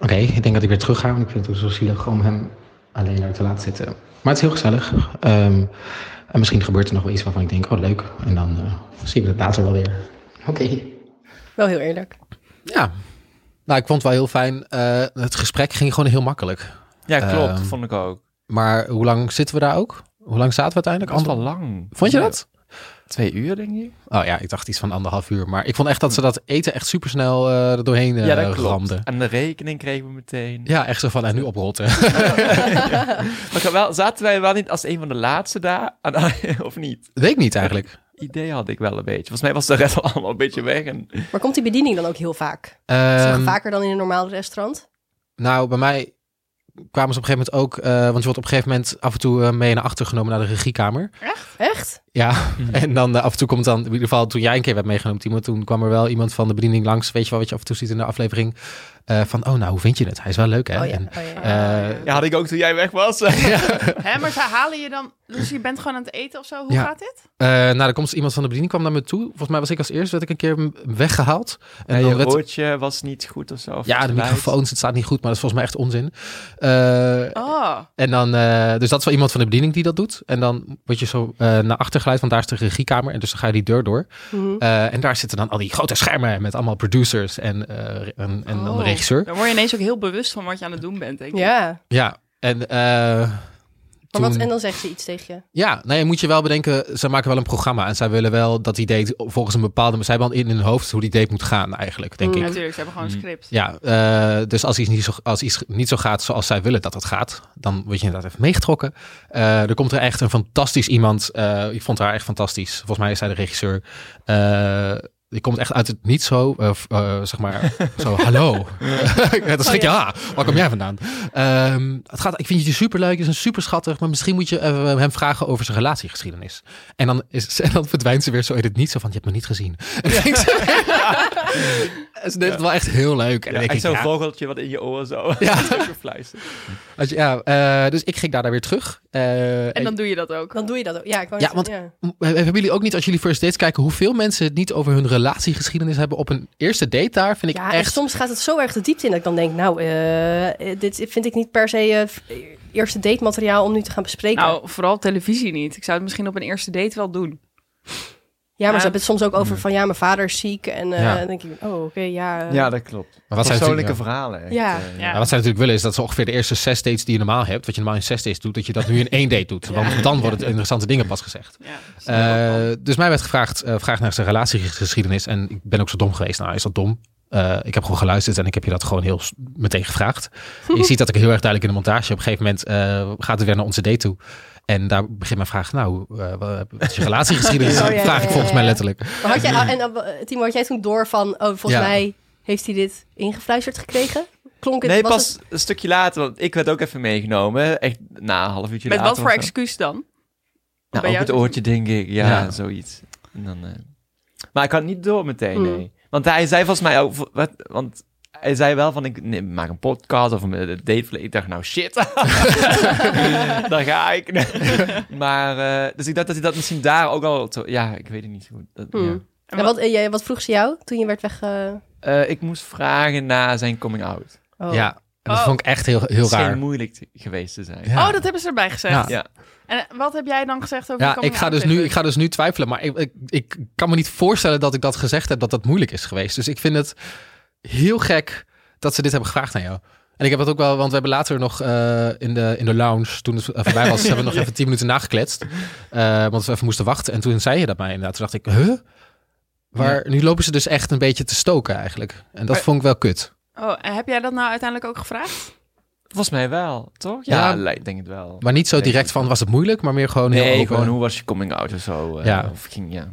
[SPEAKER 7] Oké, ik denk dat ik weer terug ga, want ik vind het zo zielig om hem alleen daar te laten zitten. Maar het is heel gezellig. Ehm, en misschien gebeurt er nog wel iets waarvan ik denk, oh leuk. En dan eh, zien we het later wel weer. Oké.
[SPEAKER 3] Wel heel eerlijk.
[SPEAKER 5] Ja. Nou, ik vond het wel heel fijn. Eh, het gesprek ging gewoon heel makkelijk.
[SPEAKER 6] Ja, klopt.
[SPEAKER 5] Ehm,
[SPEAKER 6] vond ik ook.
[SPEAKER 5] Maar hoe lang zitten we daar ook? Hoe lang zaten we
[SPEAKER 6] Dat
[SPEAKER 5] uiteindelijk?
[SPEAKER 6] was
[SPEAKER 5] Ander...
[SPEAKER 6] wel lang.
[SPEAKER 5] Vond je dat?
[SPEAKER 6] Twee uur, denk ik.
[SPEAKER 5] Oh ja, ik dacht iets van anderhalf uur. Maar ik vond echt dat ze dat eten echt supersnel eh er doorheen eh
[SPEAKER 6] ja, dat klopt.
[SPEAKER 5] ramden.
[SPEAKER 6] En de rekening kregen we meteen.
[SPEAKER 5] Ja, echt zo van, en nu (laughs) oprotten.
[SPEAKER 6] Maar ik had wel, zaten wij wel niet als een van de laatste daar? (laughs) Aan- Of niet?
[SPEAKER 5] Weet ik niet eigenlijk.
[SPEAKER 6] Idee had ik wel een beetje. Volgens mij was de rest (laughs) al allemaal een beetje weg. En...
[SPEAKER 3] Maar komt die bediening dan ook heel vaak? Is dat
[SPEAKER 5] Ehm,
[SPEAKER 3] vaker dan in een normaal restaurant?
[SPEAKER 5] nou, bij mij kwamen ze op een gegeven moment ook... eh, want je wordt op een gegeven moment af en toe eh, mee naar achter genomen naar de regiekamer.
[SPEAKER 3] Echt?
[SPEAKER 5] Ja, en dan eh, af en toe komt dan... In ieder geval, toen jij een keer werd meegenomen, Timo... toen kwam er wel iemand van de bediening langs. Weet je wel wat je af en toe ziet in de aflevering? Eh, van, oh nou, hoe vind je het? Hij is wel leuk, hè?
[SPEAKER 3] Oh ja.
[SPEAKER 5] En,
[SPEAKER 3] Oh, ja, ja.
[SPEAKER 5] eh,
[SPEAKER 6] Ja, had ik ook toen jij weg was.
[SPEAKER 8] Hè, maar ze halen je dan... Dus je bent gewoon aan het eten of zo? Hoe
[SPEAKER 5] Ja.
[SPEAKER 8] gaat dit?
[SPEAKER 5] Eh nou, er komt iemand van de bediening kwam naar me toe. Volgens mij was ik als eerst werd ik een keer m- weggehaald.
[SPEAKER 6] En
[SPEAKER 5] dan
[SPEAKER 6] je
[SPEAKER 5] werd-
[SPEAKER 6] woordje was niet goed of zo. of
[SPEAKER 5] ja,
[SPEAKER 6] het
[SPEAKER 5] de
[SPEAKER 6] geluid.
[SPEAKER 5] microfoons, het staat niet goed, maar dat is volgens mij echt onzin. Eh,
[SPEAKER 8] Oh,
[SPEAKER 5] En dan, eh, dus dat is wel iemand van de bediening die dat doet. En dan word je zo eh, naar achter geleid, want daar is de regiekamer. En dus dan ga je die deur door.
[SPEAKER 3] Mhm.
[SPEAKER 5] Eh, en daar zitten dan al die grote schermen met allemaal producers en, eh, re- en, en dan de
[SPEAKER 8] Oh.
[SPEAKER 5] regisseur.
[SPEAKER 8] dan word je ineens ook heel bewust van wat je aan het doen bent, denk ik.
[SPEAKER 3] Ja.
[SPEAKER 5] Ja, en... eh,
[SPEAKER 3] Maar wat,
[SPEAKER 5] toen-
[SPEAKER 3] en dan zegt ze iets tegen je.
[SPEAKER 5] Ja, nee, moet je wel bedenken, ze maken wel een programma. En zij willen wel dat die date volgens een bepaalde... Zij hebben al in hun hoofd hoe die date moet gaan eigenlijk, denk
[SPEAKER 3] Mm.
[SPEAKER 5] ik.
[SPEAKER 8] Natuurlijk, ze hebben gewoon een script.
[SPEAKER 5] Ja, eh, dus als iets, niet zo, als iets niet zo gaat zoals zij willen dat het gaat, dan word je inderdaad even meegetrokken. Eh, er komt er echt een fantastisch iemand. eh, ik vond haar echt fantastisch. Volgens mij is zij de regisseur. Eh, die komt echt uit het niet zo, eh, f- eh, zeg maar, zo, hallo. (laughs) dat schrik je, ah, waar kom jij vandaan? Ehm, het gaat, ik vind je superleuk, je is een super schattig, maar misschien moet je even hem vragen over zijn relatiegeschiedenis. En dan, is, en dan verdwijnt ze (laughs) weer zo in het niet, zo van, je hebt me niet gezien. (laughs) En dan ging ze, En ze deed het wel echt heel leuk. En dan
[SPEAKER 6] Ja,
[SPEAKER 5] denk
[SPEAKER 6] echt
[SPEAKER 5] ik,
[SPEAKER 6] zo'n
[SPEAKER 5] ja,
[SPEAKER 6] vogeltje wat in je oor
[SPEAKER 5] (laughs)
[SPEAKER 6] zo.
[SPEAKER 5] Ja.
[SPEAKER 6] (laughs) zo gefluisterd.
[SPEAKER 5] Als je- ja, eh, dus ik ging daar dan weer terug. Eh,
[SPEAKER 8] En dan doe je dat ook.
[SPEAKER 3] Dan doe je dat ook. Ja, ik wou
[SPEAKER 5] Ja,
[SPEAKER 3] net-
[SPEAKER 5] want-
[SPEAKER 3] ja.
[SPEAKER 5] m- Hebben jullie ook niet, als jullie first dates kijken, hoeveel mensen het niet over hun relatiegeschiedenis hebben op een eerste date daar? Vind ik
[SPEAKER 3] Ja, en
[SPEAKER 5] echt.
[SPEAKER 3] soms gaat het zo erg de diepte in dat ik dan denk, nou, eh, eh, dit vind ik niet per se eh, v- eerste date materiaal om nu te gaan bespreken.
[SPEAKER 8] Nou, vooral op televisie niet. Ik zou het misschien op een eerste date wel doen.
[SPEAKER 3] Ja, maar
[SPEAKER 8] Ja.
[SPEAKER 3] ze hebben het soms ook over van ja, mijn vader is ziek. En eh,
[SPEAKER 5] Ja.
[SPEAKER 3] dan denk ik, oh oké, ja. eh,
[SPEAKER 6] Ja, dat klopt.
[SPEAKER 5] Maar wat zij
[SPEAKER 6] Persoonlijke
[SPEAKER 5] natuurlijk-
[SPEAKER 6] verhalen. echt,
[SPEAKER 3] Ja.
[SPEAKER 6] eh,
[SPEAKER 8] Ja.
[SPEAKER 5] ja, wat zij natuurlijk willen is dat ze ongeveer de eerste zes dates die je normaal hebt, wat je normaal in zes dates doet, dat je dat nu in één date doet. Want dan worden het interessante dingen pas gezegd.
[SPEAKER 8] Ja.
[SPEAKER 5] Eh, dus mij werd gevraagd, eh, vraag naar zijn relatiegeschiedenis. En ik ben ook zo dom geweest. Nou, is dat dom? Eh, ik heb gewoon geluisterd en ik heb je dat gewoon heel s- meteen
[SPEAKER 3] (laughs)
[SPEAKER 5] gevraagd. Je ziet dat ik heel erg duidelijk in de montage. Op een gegeven moment eh, gaat het weer naar onze date toe. En daar begint mijn vraag, nou, eh, wat
[SPEAKER 3] (laughs)
[SPEAKER 5] wat is je
[SPEAKER 3] Oh,
[SPEAKER 5] relatiegeschiedenis?
[SPEAKER 3] ja,
[SPEAKER 5] vraag
[SPEAKER 3] ja,
[SPEAKER 5] ik
[SPEAKER 3] ja,
[SPEAKER 5] volgens
[SPEAKER 3] ja.
[SPEAKER 5] mij letterlijk.
[SPEAKER 3] Maar had jij, en eh, Timo, had jij toen door van, oh, volgens
[SPEAKER 5] Ja.
[SPEAKER 3] mij heeft hij dit ingefluisterd gekregen? Klonk het,
[SPEAKER 6] Nee,
[SPEAKER 3] was
[SPEAKER 6] pas
[SPEAKER 3] het-
[SPEAKER 6] een stukje later, want ik werd ook even meegenomen. Echt na een half uurtje
[SPEAKER 8] Met
[SPEAKER 6] later.
[SPEAKER 8] wat voor
[SPEAKER 6] of zo.
[SPEAKER 8] excuus dan?
[SPEAKER 6] Nou,
[SPEAKER 8] bij
[SPEAKER 6] ook
[SPEAKER 8] jou
[SPEAKER 6] het oortje, denk ik. Ja,
[SPEAKER 5] Ja.
[SPEAKER 6] zoiets. En dan, eh, Maar ik had het niet door meteen, nee. Want hij zei volgens mij ook... v- Wat, want hij zei wel van, ik nee, maak een podcast of een eh, date. Ik dacht, nou shit. (laughs) Daar ga ik. (laughs) maar, eh, dus ik dacht dat hij dat misschien daar ook al... zo- Ja, ik weet het niet zo goed. Dat-
[SPEAKER 3] Hmm.
[SPEAKER 6] ja.
[SPEAKER 3] En wat, en jij- wat vroeg ze jou toen je werd weg... eh,
[SPEAKER 6] Eh, ik moest vragen naar zijn coming out.
[SPEAKER 3] oh.
[SPEAKER 5] Ja, en dat
[SPEAKER 8] Oh.
[SPEAKER 5] vond ik echt heel, heel
[SPEAKER 6] Het scheen
[SPEAKER 5] raar.
[SPEAKER 6] moeilijk te- geweest te zijn.
[SPEAKER 5] Ja.
[SPEAKER 8] Oh, dat hebben ze erbij gezegd.
[SPEAKER 5] Ja.
[SPEAKER 6] Ja.
[SPEAKER 8] En eh, wat heb jij dan gezegd over
[SPEAKER 5] Ja,
[SPEAKER 8] de
[SPEAKER 5] ik ga,
[SPEAKER 8] coming-out
[SPEAKER 5] dus nu,
[SPEAKER 8] paper?
[SPEAKER 5] ik ga dus nu twijfelen, maar ik, ik, ik kan me niet voorstellen dat ik dat gezegd heb dat dat moeilijk is geweest. Dus ik vind het heel gek dat ze dit hebben gevraagd aan jou. En ik heb het ook wel, want we hebben later nog eh, in, de, in de lounge, toen het eh, voorbij was, hebben we nog even tien minuten nagekletst. Eh, want we even moesten wachten. En toen zei je dat mij inderdaad. Toen dacht ik, huh? Waar, Nu lopen ze dus echt een beetje te stoken eigenlijk. En dat
[SPEAKER 8] Maar-
[SPEAKER 5] vond ik wel kut.
[SPEAKER 8] Oh, en heb jij dat nou uiteindelijk ook gevraagd?
[SPEAKER 6] Volgens mij wel, toch?
[SPEAKER 5] Ja.
[SPEAKER 6] Ja, lijkt denk het wel.
[SPEAKER 5] Maar niet zo
[SPEAKER 6] Nee.
[SPEAKER 5] direct van, was het moeilijk? Maar meer gewoon heel
[SPEAKER 6] nee,
[SPEAKER 5] open.
[SPEAKER 6] gewoon hoe was je coming out of zo? eh,
[SPEAKER 5] Ja.
[SPEAKER 6] Of ging, ja.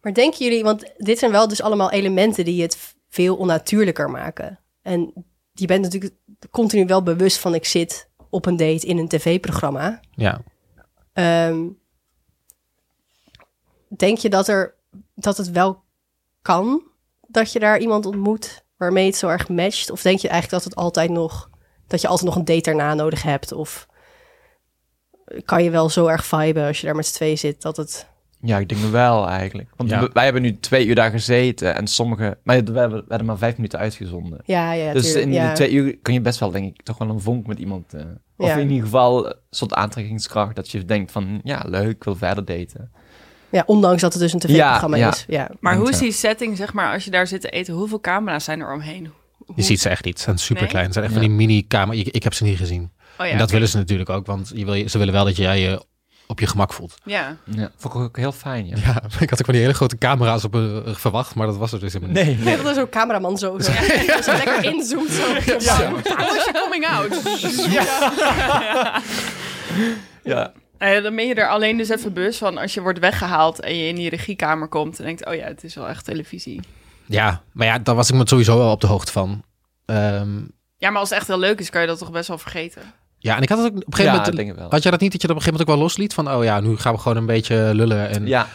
[SPEAKER 3] Maar denken jullie, want dit zijn wel dus allemaal elementen die het v- veel onnatuurlijker maken. En je bent natuurlijk continu wel bewust van ik zit op een date in een tv-programma.
[SPEAKER 5] Ja.
[SPEAKER 3] Ehm, denk je dat, er, dat het wel kan dat je daar iemand ontmoet waarmee het zo erg matcht? Of denk je eigenlijk dat het altijd nog dat je altijd nog een date daarna nodig hebt? Of kan je wel zo erg viben als je daar met z'n tweeën zit dat het
[SPEAKER 6] Ja, ik denk wel eigenlijk. Want
[SPEAKER 5] Ja.
[SPEAKER 6] we- wij hebben nu twee uur daar gezeten en sommige... Maar we hebben, we hebben maar vijf minuten uitgezonden.
[SPEAKER 3] ja ja
[SPEAKER 6] dus
[SPEAKER 3] tuurlijk,
[SPEAKER 6] in
[SPEAKER 3] ja.
[SPEAKER 6] die twee uur kun je best wel, denk ik, toch wel een vonk met iemand... eh, of
[SPEAKER 3] Ja.
[SPEAKER 6] in ieder geval een soort aantrekkingskracht dat je denkt van... Ja, leuk, ik wil verder daten.
[SPEAKER 3] Ja, ondanks dat het dus een tv-programma
[SPEAKER 6] Ja, ja.
[SPEAKER 3] is. Ja.
[SPEAKER 8] Maar hoe is
[SPEAKER 6] Ja.
[SPEAKER 8] die setting, zeg maar, als je daar zit te eten? Hoeveel camera's zijn er omheen?
[SPEAKER 5] Je ziet ze echt niet. Ze zijn super klein. Ze zijn echt van die mini-kamer. Ik, ik heb ze niet gezien.
[SPEAKER 8] Oh ja,
[SPEAKER 5] en dat
[SPEAKER 8] oké.
[SPEAKER 5] willen ze natuurlijk ook, want je wil, ze willen wel dat jij je op je gemak voelt.
[SPEAKER 8] Ja.
[SPEAKER 6] Ja, vond ik ook heel fijn, ja.
[SPEAKER 5] Ja, (laughs) ik had ook van die hele grote camera's op eh, verwacht, maar dat was er dus helemaal niet.
[SPEAKER 6] Nee, nee.
[SPEAKER 3] Dat is zo'n cameraman zo. (laughs) zo. zo lekker inzoomt. Zo.
[SPEAKER 8] Hoe is je coming
[SPEAKER 5] (laughs)
[SPEAKER 8] out?
[SPEAKER 6] Ja.
[SPEAKER 8] Nou ja, dan ben je er alleen dus even bewust van als je wordt weggehaald en je in die regiekamer komt en denkt, oh ja, het is wel echt televisie.
[SPEAKER 5] Ja, maar ja, daar was ik me sowieso wel op de hoogte van. Ehm,
[SPEAKER 8] Ja, maar als het echt heel leuk is, kan je dat toch best wel vergeten.
[SPEAKER 5] ja, en ik had het ook op een
[SPEAKER 6] Ja,
[SPEAKER 5] gegeven
[SPEAKER 6] ik
[SPEAKER 5] moment...
[SPEAKER 6] denk het wel.
[SPEAKER 5] Had jij dat niet, dat je dat op een gegeven moment ook wel losliet? Van, oh ja, nu gaan we gewoon een beetje lullen. En,
[SPEAKER 6] Ja.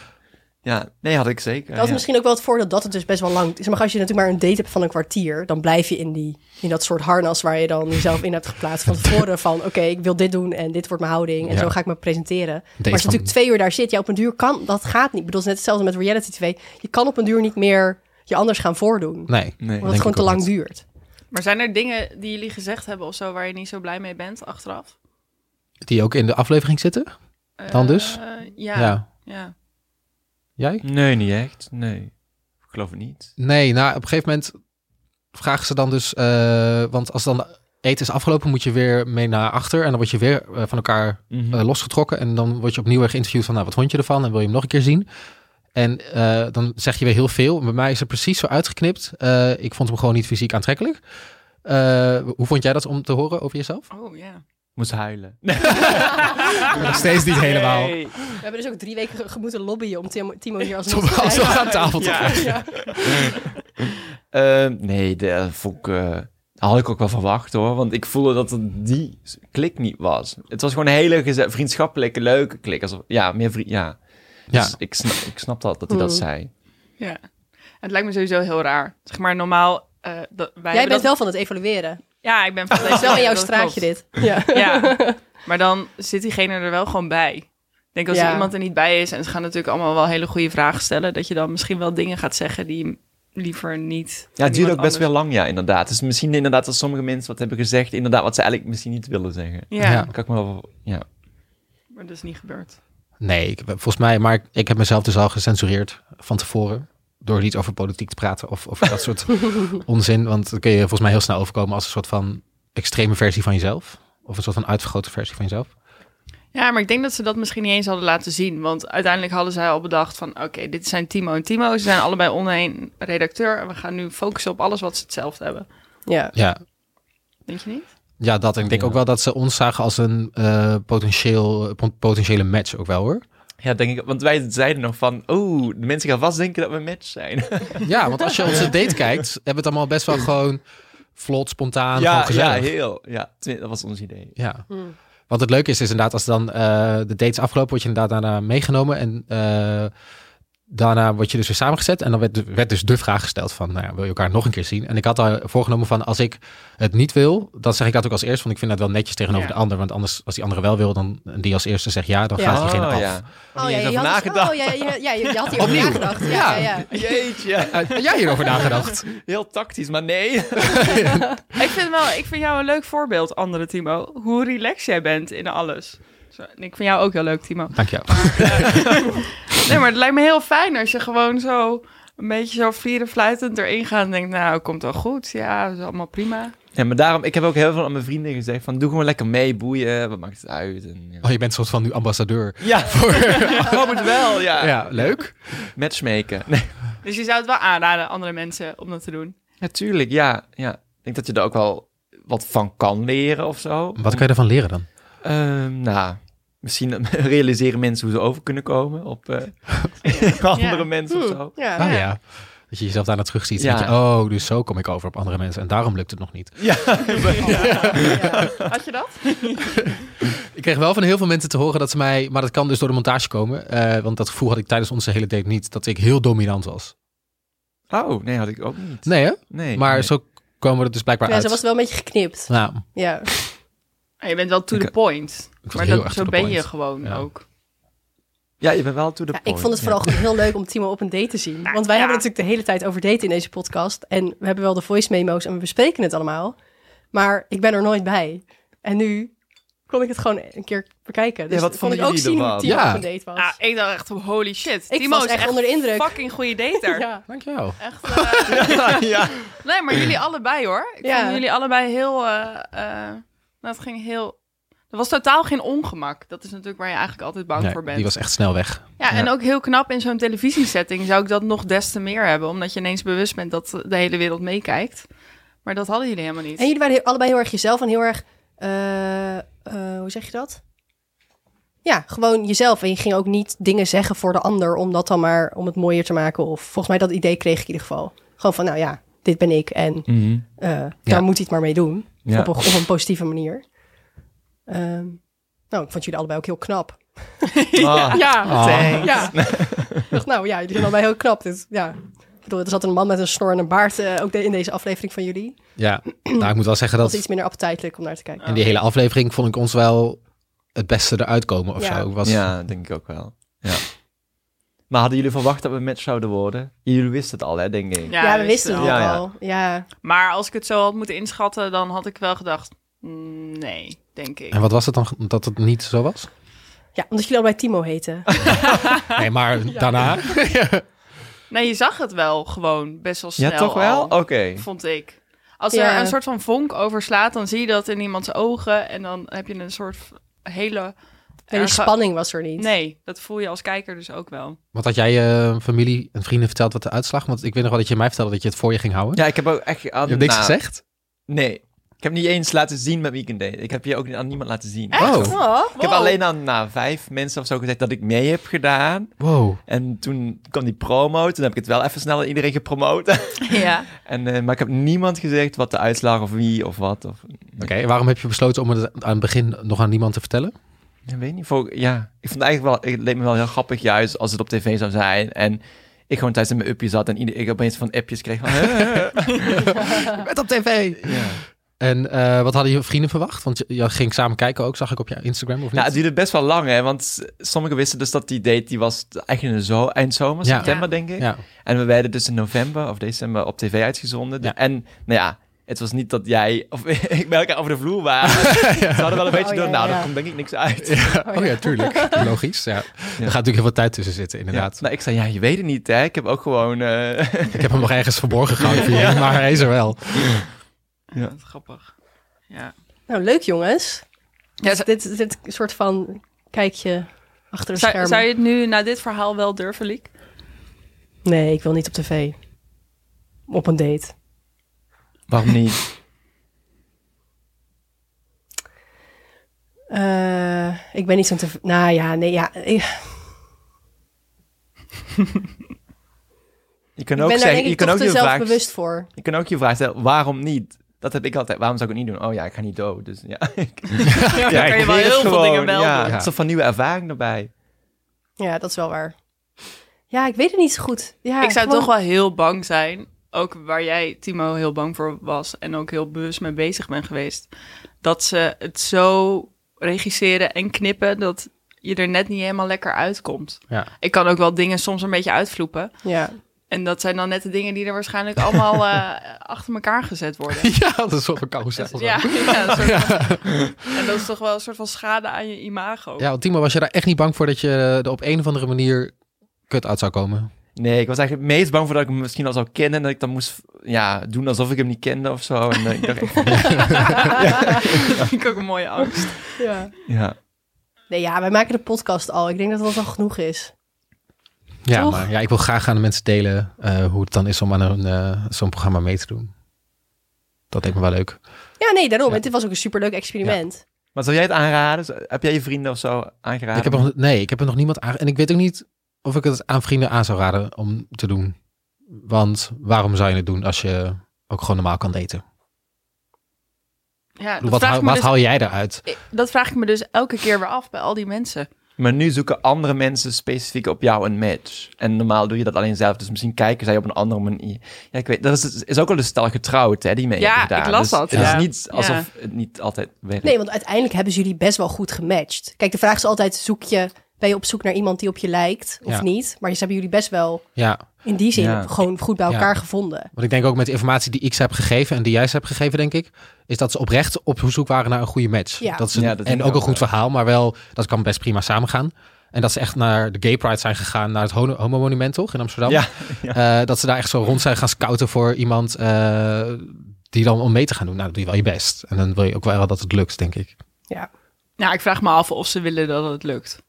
[SPEAKER 6] ja, nee, had ik zeker.
[SPEAKER 3] Dat is
[SPEAKER 6] ja.
[SPEAKER 3] misschien ook wel het voordeel dat het dus best wel lang is. Maar als je natuurlijk maar een date hebt van een kwartier, dan blijf je in, die, in dat soort harnas waar je dan jezelf in hebt geplaatst van tevoren. Van oké, ik wil dit doen en dit wordt mijn houding en
[SPEAKER 5] Ja.
[SPEAKER 3] zo ga ik me presenteren.
[SPEAKER 5] Date
[SPEAKER 3] maar als je
[SPEAKER 5] van-
[SPEAKER 3] natuurlijk twee uur daar zit, ja, op een duur kan, dat gaat niet. Ik bedoel, het is net hetzelfde met reality tv. Je kan op een duur niet meer je anders gaan voordoen.
[SPEAKER 5] Nee.
[SPEAKER 6] Nee.
[SPEAKER 3] omdat het
[SPEAKER 5] denk
[SPEAKER 3] gewoon
[SPEAKER 5] ik
[SPEAKER 3] te
[SPEAKER 5] ook
[SPEAKER 3] lang
[SPEAKER 5] niet.
[SPEAKER 3] duurt.
[SPEAKER 8] Maar zijn er dingen die jullie gezegd hebben of zo waar je niet zo blij mee bent achteraf?
[SPEAKER 5] Die ook in de aflevering zitten? Dan dus?
[SPEAKER 8] Eh,
[SPEAKER 5] Ja.
[SPEAKER 8] ja, ja.
[SPEAKER 5] Jij?
[SPEAKER 6] Nee, niet echt. Nee. Ik geloof het niet.
[SPEAKER 5] Nee, nou, op een gegeven moment vragen ze dan dus... eh, want als dan eten is afgelopen, moet je weer mee naar achter. En dan word je weer eh, van elkaar
[SPEAKER 6] Mhm.
[SPEAKER 5] eh, losgetrokken. En dan word je opnieuw weer geïnterviewd van, nou, wat vond je ervan? En wil je hem nog een keer zien? En eh, dan zeg je weer heel veel. Bij mij is het precies zo uitgeknipt. Eh, ik vond hem gewoon niet fysiek aantrekkelijk. Eh, hoe vond jij dat om te horen over jezelf?
[SPEAKER 8] Oh ja.
[SPEAKER 6] Moest huilen.
[SPEAKER 5] Nog steeds niet (laughs) helemaal.
[SPEAKER 6] Nee.
[SPEAKER 3] We hebben dus ook drie weken ge- ge- moeten lobbyen om Timo, Timo hier
[SPEAKER 5] Zo
[SPEAKER 3] alsnog te
[SPEAKER 5] zo
[SPEAKER 3] krijgen.
[SPEAKER 5] aan tafel te krijgen.
[SPEAKER 6] Ehm, nee, dat vond ik, eh, dat had ik ook wel verwacht hoor. Want ik voelde dat het die klik niet was. Het was gewoon een hele geze- vriendschappelijke, leuke klik. Alsof, ja, meer vriend. Ja.
[SPEAKER 5] Ja.
[SPEAKER 6] Dus ik, snap, ik snap dat, dat hij dat
[SPEAKER 3] Mm.
[SPEAKER 6] zei.
[SPEAKER 8] ja. Het lijkt me sowieso heel raar. Zeg maar normaal... eh, dat,
[SPEAKER 3] Jij
[SPEAKER 8] wij hebben
[SPEAKER 3] bent
[SPEAKER 8] dat-
[SPEAKER 3] wel van het evalueren.
[SPEAKER 8] Ja, ik ben van deze.
[SPEAKER 3] Het is (laughs) wel in jouw
[SPEAKER 8] dat
[SPEAKER 3] straatje
[SPEAKER 8] klopt.
[SPEAKER 3] dit. Ja.
[SPEAKER 8] Ja, (laughs) maar dan zit diegene er wel gewoon bij. Ik denk als
[SPEAKER 3] Ja.
[SPEAKER 8] er iemand er niet bij is en ze gaan natuurlijk allemaal wel hele goede vragen stellen, dat je dan misschien wel dingen gaat zeggen die je liever niet.
[SPEAKER 6] Ja, het duurde ook best
[SPEAKER 8] wel.
[SPEAKER 6] wel lang, ja, inderdaad. Dus misschien inderdaad dat sommige mensen wat hebben gezegd, inderdaad, wat ze eigenlijk misschien niet willen zeggen.
[SPEAKER 8] Ja,
[SPEAKER 5] Ja.
[SPEAKER 6] Kan ik me wel, ja.
[SPEAKER 8] maar dat is niet gebeurd.
[SPEAKER 5] Nee, ik, volgens mij, maar ik, ik heb mezelf dus al gecensureerd van tevoren. Door niet over politiek te praten of over dat soort onzin. Want dan kun je volgens mij heel snel overkomen als een soort van extreme versie van jezelf. Of een soort van uitvergrote versie van jezelf.
[SPEAKER 8] Ja, maar ik denk dat ze dat misschien niet eens hadden laten zien. Want uiteindelijk hadden zij al bedacht van... oké, dit zijn Timo en Timo. Ze zijn allebei onheen redacteur. En we gaan nu focussen op alles wat ze hetzelfde hebben.
[SPEAKER 3] Ja.
[SPEAKER 5] Ja,
[SPEAKER 8] Denk je niet?
[SPEAKER 5] Ja, dat. En ik denk ook wel dat ze ons zagen als een eh, potentieel, pot- potentiële match ook wel hoor.
[SPEAKER 6] Ja, denk ik, want wij zeiden nog van, oh, de mensen gaan vast denken dat we een match zijn.
[SPEAKER 5] Ja, want als je onze date kijkt, hebben we het allemaal best wel gewoon vlot, spontaan, gewoon
[SPEAKER 6] (laughs) ja,
[SPEAKER 5] gezellig.
[SPEAKER 6] heel. Ja, dat was ons idee.
[SPEAKER 5] Ja. Want het leuke is, is inderdaad, als dan eh, de dates afgelopen, word je inderdaad daarna meegenomen. En eh, daarna word je dus weer samengezet. En dan werd, werd dus de vraag gesteld van, nou ja, wil je elkaar nog een keer zien? En ik had al voorgenomen van, als ik het niet wil, dan zeg ik dat ook als eerst. Want ik vind dat wel netjes tegenover
[SPEAKER 8] Ja.
[SPEAKER 5] de ander. Want anders, als die andere wel wil, dan en die als eerste zegt ja, dan
[SPEAKER 3] Ja.
[SPEAKER 5] gaat diegene af.
[SPEAKER 6] ja.
[SPEAKER 3] Oh, ja,
[SPEAKER 6] je
[SPEAKER 3] je
[SPEAKER 6] hebt
[SPEAKER 3] had dus-
[SPEAKER 6] nagedacht.
[SPEAKER 3] oh, ja, ja, ja, je, je had hierover nagedacht. Ja, ja. oh, ja.
[SPEAKER 6] Jeetje.
[SPEAKER 5] Eh, had jij hierover nagedacht?
[SPEAKER 6] Heel tactisch, maar nee.
[SPEAKER 8] Ik vind, wel, ik vind jou een leuk voorbeeld, andere Timo. Hoe relaxed jij bent in alles. Zo, en ik vind jou ook heel leuk, Timo.
[SPEAKER 5] Dank je.
[SPEAKER 8] Nee, maar het lijkt me heel fijn als je gewoon zo een beetje zo vieren fluitend erin gaat en denkt, nou, komt wel goed. Ja, is allemaal prima.
[SPEAKER 6] Ja, maar daarom, ik heb ook heel veel aan mijn vrienden gezegd van, doe gewoon lekker mee, boeien, wat maakt het uit? En, ja.
[SPEAKER 5] Oh, je bent een soort van nu ambassadeur.
[SPEAKER 6] (laughs) Ja, gewoon het wel, ja.
[SPEAKER 5] Ja, leuk.
[SPEAKER 6] Matchmaken. Nee,
[SPEAKER 8] Dus je zou het wel aanraden, andere mensen, om dat te doen.
[SPEAKER 6] natuurlijk, ja, ja. Ik denk dat je er ook wel wat van kan leren of zo.
[SPEAKER 5] Wat kan je ervan leren dan?
[SPEAKER 6] Ehm, nou, misschien (laughs) realiseren mensen hoe ze over kunnen komen op
[SPEAKER 3] (laughs)
[SPEAKER 6] eh, andere
[SPEAKER 8] Ja.
[SPEAKER 6] mensen of zo.
[SPEAKER 3] Ja.
[SPEAKER 5] Ah ja. Dat je jezelf daarna terugziet.
[SPEAKER 6] Ja.
[SPEAKER 5] Dat je, oh, dus zo kom ik over op andere mensen. En daarom lukt het nog niet.
[SPEAKER 8] Had je dat?
[SPEAKER 5] Ik kreeg wel van heel veel mensen te horen dat ze mij... Maar dat kan dus door de montage komen. eh, want dat gevoel had ik tijdens onze hele date niet. Dat ik heel dominant was.
[SPEAKER 6] Oh, nee, had ik ook niet.
[SPEAKER 5] Nee hè?
[SPEAKER 6] Nee.
[SPEAKER 5] Maar
[SPEAKER 6] nee.
[SPEAKER 5] zo komen we er dus blijkbaar
[SPEAKER 3] Ja,
[SPEAKER 5] uit.
[SPEAKER 3] ze was wel een beetje geknipt.
[SPEAKER 5] Nou,
[SPEAKER 3] Ja.
[SPEAKER 8] Ah, Je bent wel to
[SPEAKER 6] Ik-
[SPEAKER 8] the point.
[SPEAKER 5] was
[SPEAKER 8] Maar
[SPEAKER 5] heel
[SPEAKER 8] dat,
[SPEAKER 5] erg
[SPEAKER 8] zo
[SPEAKER 5] to the
[SPEAKER 8] ben
[SPEAKER 5] point.
[SPEAKER 8] je gewoon
[SPEAKER 5] Ja.
[SPEAKER 8] ook.
[SPEAKER 6] Ja, je bent wel to the
[SPEAKER 3] Ja,
[SPEAKER 6] point.
[SPEAKER 3] ik vond het vooral heel leuk om Timo op een date te zien. Want wij
[SPEAKER 8] ja.
[SPEAKER 3] hebben natuurlijk de hele tijd over daten in deze podcast. En we hebben wel de voice memo's en we bespreken het allemaal. Maar ik ben er nooit bij. En nu kon ik het gewoon een keer bekijken. Dus
[SPEAKER 6] Ja, wat
[SPEAKER 3] kon
[SPEAKER 6] vonden
[SPEAKER 3] ik ook
[SPEAKER 6] jullie
[SPEAKER 3] zien
[SPEAKER 6] ervan?
[SPEAKER 3] hoe Timo
[SPEAKER 5] Ja.
[SPEAKER 3] op een date was.
[SPEAKER 8] Ah, ik dacht echt, holy shit.
[SPEAKER 3] Ik
[SPEAKER 8] Timo
[SPEAKER 3] was
[SPEAKER 8] is
[SPEAKER 3] echt onder de indruk.
[SPEAKER 8] fucking goede dater.
[SPEAKER 3] (laughs) Ja.
[SPEAKER 5] dankjewel.
[SPEAKER 8] Echt, eh,
[SPEAKER 5] (laughs)
[SPEAKER 8] Nee, maar jullie allebei hoor. Ik
[SPEAKER 3] Ja.
[SPEAKER 8] vond jullie allebei heel... eh, eh, nou, het ging heel... Er was totaal geen ongemak. Dat is natuurlijk waar je eigenlijk altijd bang
[SPEAKER 5] Nee,
[SPEAKER 8] voor bent.
[SPEAKER 5] die was echt snel weg.
[SPEAKER 8] Ja,
[SPEAKER 5] Ja.
[SPEAKER 8] en ook heel knap in zo'n televisiesetting zou ik dat nog des te meer hebben. Omdat je ineens bewust bent dat de hele wereld meekijkt. Maar dat hadden jullie helemaal niet.
[SPEAKER 3] En jullie waren heel- allebei heel erg jezelf en heel erg... eh, eh, hoe zeg je dat? Ja, gewoon jezelf. En je ging ook niet dingen zeggen voor de ander... om dat dan maar om het mooier te maken. Of volgens mij dat idee kreeg ik in ieder geval. Gewoon van, nou ja, dit ben ik. En
[SPEAKER 6] Mhm.
[SPEAKER 3] eh, daar moet hij het maar mee doen.
[SPEAKER 6] Ja.
[SPEAKER 3] Op, een, op een positieve manier. Ehm, nou, ik vond jullie allebei ook heel knap.
[SPEAKER 6] Ah,
[SPEAKER 3] Ja,
[SPEAKER 5] thanks.
[SPEAKER 3] ja. Ik dacht, nou ja, jullie zijn allebei heel knap. Dus, ja. Ik bedoel, er zat een man met een snor en een baard eh, ook de- in deze aflevering van jullie.
[SPEAKER 5] Ja, nou ik moet wel zeggen
[SPEAKER 3] Dat
[SPEAKER 5] dat
[SPEAKER 3] was iets minder appetijtelijk om naar te kijken.
[SPEAKER 5] in die hele aflevering vond ik ons wel het beste eruit komen of
[SPEAKER 3] Ja.
[SPEAKER 5] zo. Ik Was,
[SPEAKER 6] Ja, denk ik ook wel. Ja. Maar hadden jullie verwacht dat we match zouden worden? Jullie wisten het al, hè, denk ik.
[SPEAKER 3] Ja, we wisten het
[SPEAKER 8] wel.
[SPEAKER 3] ook
[SPEAKER 6] Ja, ja.
[SPEAKER 3] al. Ja.
[SPEAKER 8] Maar als ik het zo had moeten inschatten, dan had ik wel gedacht... mm, Nee, denk ik.
[SPEAKER 5] En wat was het dan dat het niet zo was?
[SPEAKER 3] ja, omdat jullie allebei Timo
[SPEAKER 8] (laughs)
[SPEAKER 3] heten.
[SPEAKER 5] Nee, maar daarna... (laughs)
[SPEAKER 8] Nee, je zag het wel gewoon best wel snel
[SPEAKER 6] Ja, toch wel? Oh.
[SPEAKER 8] al,
[SPEAKER 6] Oké.
[SPEAKER 8] Vond ik. Als
[SPEAKER 3] Ja.
[SPEAKER 8] er een soort van vonk overslaat, dan zie je dat in iemands ogen. En dan heb je een soort hele...
[SPEAKER 3] En die
[SPEAKER 8] erge-
[SPEAKER 3] spanning was er niet.
[SPEAKER 8] Nee, dat voel je als kijker dus ook wel.
[SPEAKER 5] Wat had jij je familie en vrienden verteld wat de uitslag? Want ik weet nog wel dat je mij vertelde dat je het voor je ging houden.
[SPEAKER 6] Ja, ik heb ook echt... aan-
[SPEAKER 5] je hebt niks
[SPEAKER 6] nou,
[SPEAKER 5] gezegd?
[SPEAKER 6] Nee. Ik heb niet eens laten zien met Weekend Date. Ik heb je ook niet- aan niemand laten zien.
[SPEAKER 5] Wow.
[SPEAKER 3] Oh,
[SPEAKER 6] Ik heb alleen aan nou, vijf mensen of zo gezegd dat ik mee heb gedaan.
[SPEAKER 5] wow.
[SPEAKER 6] En toen kwam die promo. Toen heb ik het wel even snel aan iedereen gepromoot.
[SPEAKER 8] Ja.
[SPEAKER 6] (laughs) en, eh, maar ik heb niemand gezegd wat de uitslag of wie of wat. Of,
[SPEAKER 5] Oké, waarom heb je besloten om het aan het begin nog aan niemand te vertellen?
[SPEAKER 6] Ik weet niet. Voor, ja, ik vond het eigenlijk wel, het leek me wel heel grappig juist als het op tv zou zijn. En ik gewoon thuis in mijn uppie zat en ieder, ik opeens van appjes
[SPEAKER 5] (laughs)
[SPEAKER 6] kreeg van... Nou, hè?
[SPEAKER 5] Met op tv!
[SPEAKER 6] ja.
[SPEAKER 5] En eh, wat hadden je vrienden verwacht? Want je, je ging samen kijken ook, zag ik op je Instagram of niet?
[SPEAKER 6] Nou, het duurde best wel lang, hè. Want s- sommigen wisten dus dat die date, die was eigenlijk in de zo, eind zomer,
[SPEAKER 5] Ja.
[SPEAKER 6] september denk ik.
[SPEAKER 5] ja.
[SPEAKER 6] En we werden dus in november of december op tv uitgezonden.
[SPEAKER 5] Ja.
[SPEAKER 6] En nou ja, het was niet dat jij of (laughs) ik bij elkaar over de vloer
[SPEAKER 5] (laughs)
[SPEAKER 6] waren. Ze hadden wel een beetje
[SPEAKER 3] Oh,
[SPEAKER 6] door,
[SPEAKER 3] ja,
[SPEAKER 6] nou,
[SPEAKER 3] ja.
[SPEAKER 6] daar komt denk ik niks uit.
[SPEAKER 5] (laughs) Oh ja, tuurlijk. (laughs) Logisch, ja. Er gaat natuurlijk heel veel tijd tussen zitten, inderdaad.
[SPEAKER 6] Ja. Nou, ik zei, ja, je weet het niet, hè. Ik heb ook gewoon... eh, (laughs)
[SPEAKER 5] Ik heb hem nog ergens verborgen (laughs) gehouden voor jullie, maar hij is er wel.
[SPEAKER 8] Dat is grappig. Ja.
[SPEAKER 3] Nou, leuk jongens.
[SPEAKER 8] Ja,
[SPEAKER 3] Dus dit, dit soort van kijkje achter de
[SPEAKER 8] Zou,
[SPEAKER 3] schermen.
[SPEAKER 8] zou je het nu na dit verhaal wel durven, Liek?
[SPEAKER 3] Nee, ik wil niet op tv. Op een date.
[SPEAKER 6] Waarom niet?
[SPEAKER 3] Eh, ik ben niet zo'n tv... Nou ja, nee, ja. ik-
[SPEAKER 6] Je kan
[SPEAKER 3] Ik ben daar
[SPEAKER 6] ook zeggen,
[SPEAKER 3] denk
[SPEAKER 6] je
[SPEAKER 3] ik
[SPEAKER 6] kan
[SPEAKER 3] toch
[SPEAKER 6] ook
[SPEAKER 3] te
[SPEAKER 6] je vraag,
[SPEAKER 3] zelfbewust voor.
[SPEAKER 6] je kan ook je vraag stellen, waarom niet? Dat heb ik altijd. Waarom zou ik het niet doen? Oh ja, ik ga niet dood. Dus ja, (laughs) ik,
[SPEAKER 8] Ja,
[SPEAKER 6] ja,
[SPEAKER 8] dan kan
[SPEAKER 6] ik
[SPEAKER 8] je wel
[SPEAKER 6] weet het
[SPEAKER 8] heel veel
[SPEAKER 6] gewoon.
[SPEAKER 8] dingen wel
[SPEAKER 6] Ja,
[SPEAKER 8] doen.
[SPEAKER 5] doen.
[SPEAKER 6] een soort van nieuwe ervaring erbij.
[SPEAKER 3] Ja, dat is wel waar. Ja, ik weet het niet zo goed. Ja,
[SPEAKER 8] ik zou
[SPEAKER 3] gewoon-
[SPEAKER 8] toch wel heel bang zijn. Ook waar jij, Timo, heel bang voor was. En ook heel bewust mee bezig bent geweest. Dat ze het zo regisseren en knippen dat je er net niet helemaal lekker uitkomt.
[SPEAKER 5] Ja.
[SPEAKER 8] Ik kan ook wel dingen soms een beetje uitvloepen.
[SPEAKER 3] Ja.
[SPEAKER 8] En dat zijn dan net de dingen die er waarschijnlijk allemaal
[SPEAKER 5] (laughs)
[SPEAKER 8] eh, achter elkaar gezet worden. Dus
[SPEAKER 5] Ja, (laughs) dat is op een carousel. zo.
[SPEAKER 8] Ja, (laughs) ja, een soort van- en dat is toch wel een soort van schade aan je imago.
[SPEAKER 5] Ja, want Timo, was je daar echt niet bang voor dat je eh, er op een of andere manier kut uit zou komen?
[SPEAKER 6] Nee, ik was eigenlijk het meest bang voor dat ik hem misschien al zou kennen. En dat ik dan moest ja, doen alsof ik hem niet kende of zo. En eh, ik dacht echt van,
[SPEAKER 5] (laughs)
[SPEAKER 8] Dat vind (laughs) ik ook een mooie angst.
[SPEAKER 3] ja.
[SPEAKER 6] ja.
[SPEAKER 3] Nee, ja, wij maken de podcast al. Ik denk dat dat al genoeg is.
[SPEAKER 5] Ja,
[SPEAKER 3] Toch?
[SPEAKER 5] maar ja, ik wil graag aan de mensen delen eh, hoe het dan is om aan een, eh, zo'n programma mee te doen. Dat lijkt me wel leuk.
[SPEAKER 3] Ja, nee, daarom.
[SPEAKER 5] Ja.
[SPEAKER 3] Het was ook een superleuk experiment.
[SPEAKER 6] Maar zou jij het aanraden? Zou- Heb jij je vrienden of zo aangeraden?
[SPEAKER 5] Ik heb nog, nee, ik heb er nog niemand aan. En ik weet ook niet of ik het aan vrienden aan zou raden om te doen. Want waarom zou je het doen als je ook gewoon normaal kan daten?
[SPEAKER 8] Ja, dat,
[SPEAKER 5] Wat,
[SPEAKER 8] vraag
[SPEAKER 5] hou,
[SPEAKER 8] ik me
[SPEAKER 5] wat
[SPEAKER 8] dus,
[SPEAKER 5] haal jij eruit?
[SPEAKER 8] dat vraag ik me dus elke keer weer af bij al die mensen.
[SPEAKER 6] Maar nu zoeken andere mensen specifiek op jou een match. En normaal doe je dat alleen zelf. Dus misschien kijken zij op een andere manier. Ja, ik weet, dat is, is ook al een stel getrouwd, hè, die mee
[SPEAKER 8] Ja,
[SPEAKER 6] hebben gedaan.
[SPEAKER 8] ik las
[SPEAKER 6] Dus
[SPEAKER 8] dat,
[SPEAKER 6] Het
[SPEAKER 5] ja.
[SPEAKER 6] is niet alsof het niet altijd werkt.
[SPEAKER 3] Nee, want uiteindelijk hebben ze jullie best wel goed gematcht. Kijk, de vraag is altijd, zoek je, ben je op zoek naar iemand die op je lijkt of
[SPEAKER 5] Ja.
[SPEAKER 3] niet? Maar ze hebben jullie best wel
[SPEAKER 5] Ja,
[SPEAKER 3] in die zin
[SPEAKER 6] Ja.
[SPEAKER 3] gewoon goed bij
[SPEAKER 5] Ja.
[SPEAKER 3] elkaar gevonden.
[SPEAKER 5] want ik denk ook met de informatie die ik ze heb gegeven en die jij ze hebt gegeven, denk ik, is dat ze oprecht op zoek waren naar een goede match.
[SPEAKER 3] Ja.
[SPEAKER 5] Dat ze,
[SPEAKER 6] Ja, dat denk
[SPEAKER 5] en
[SPEAKER 6] ik
[SPEAKER 5] ook een
[SPEAKER 6] ook,
[SPEAKER 5] goed
[SPEAKER 6] ja.
[SPEAKER 5] verhaal, maar wel, dat kan best prima samengaan. En dat ze echt naar de Gay Pride zijn gegaan, naar het homo- homo-monument toch in Amsterdam. (laughs)
[SPEAKER 6] Ja,
[SPEAKER 5] Eh, dat ze daar echt zo rond zijn gaan scouten voor iemand eh, die dan om mee te gaan doen. Nou, dan doe je wel je best. En dan wil je ook wel dat het lukt, denk ik.
[SPEAKER 8] Nou, ik vraag me af of ze willen dat het lukt.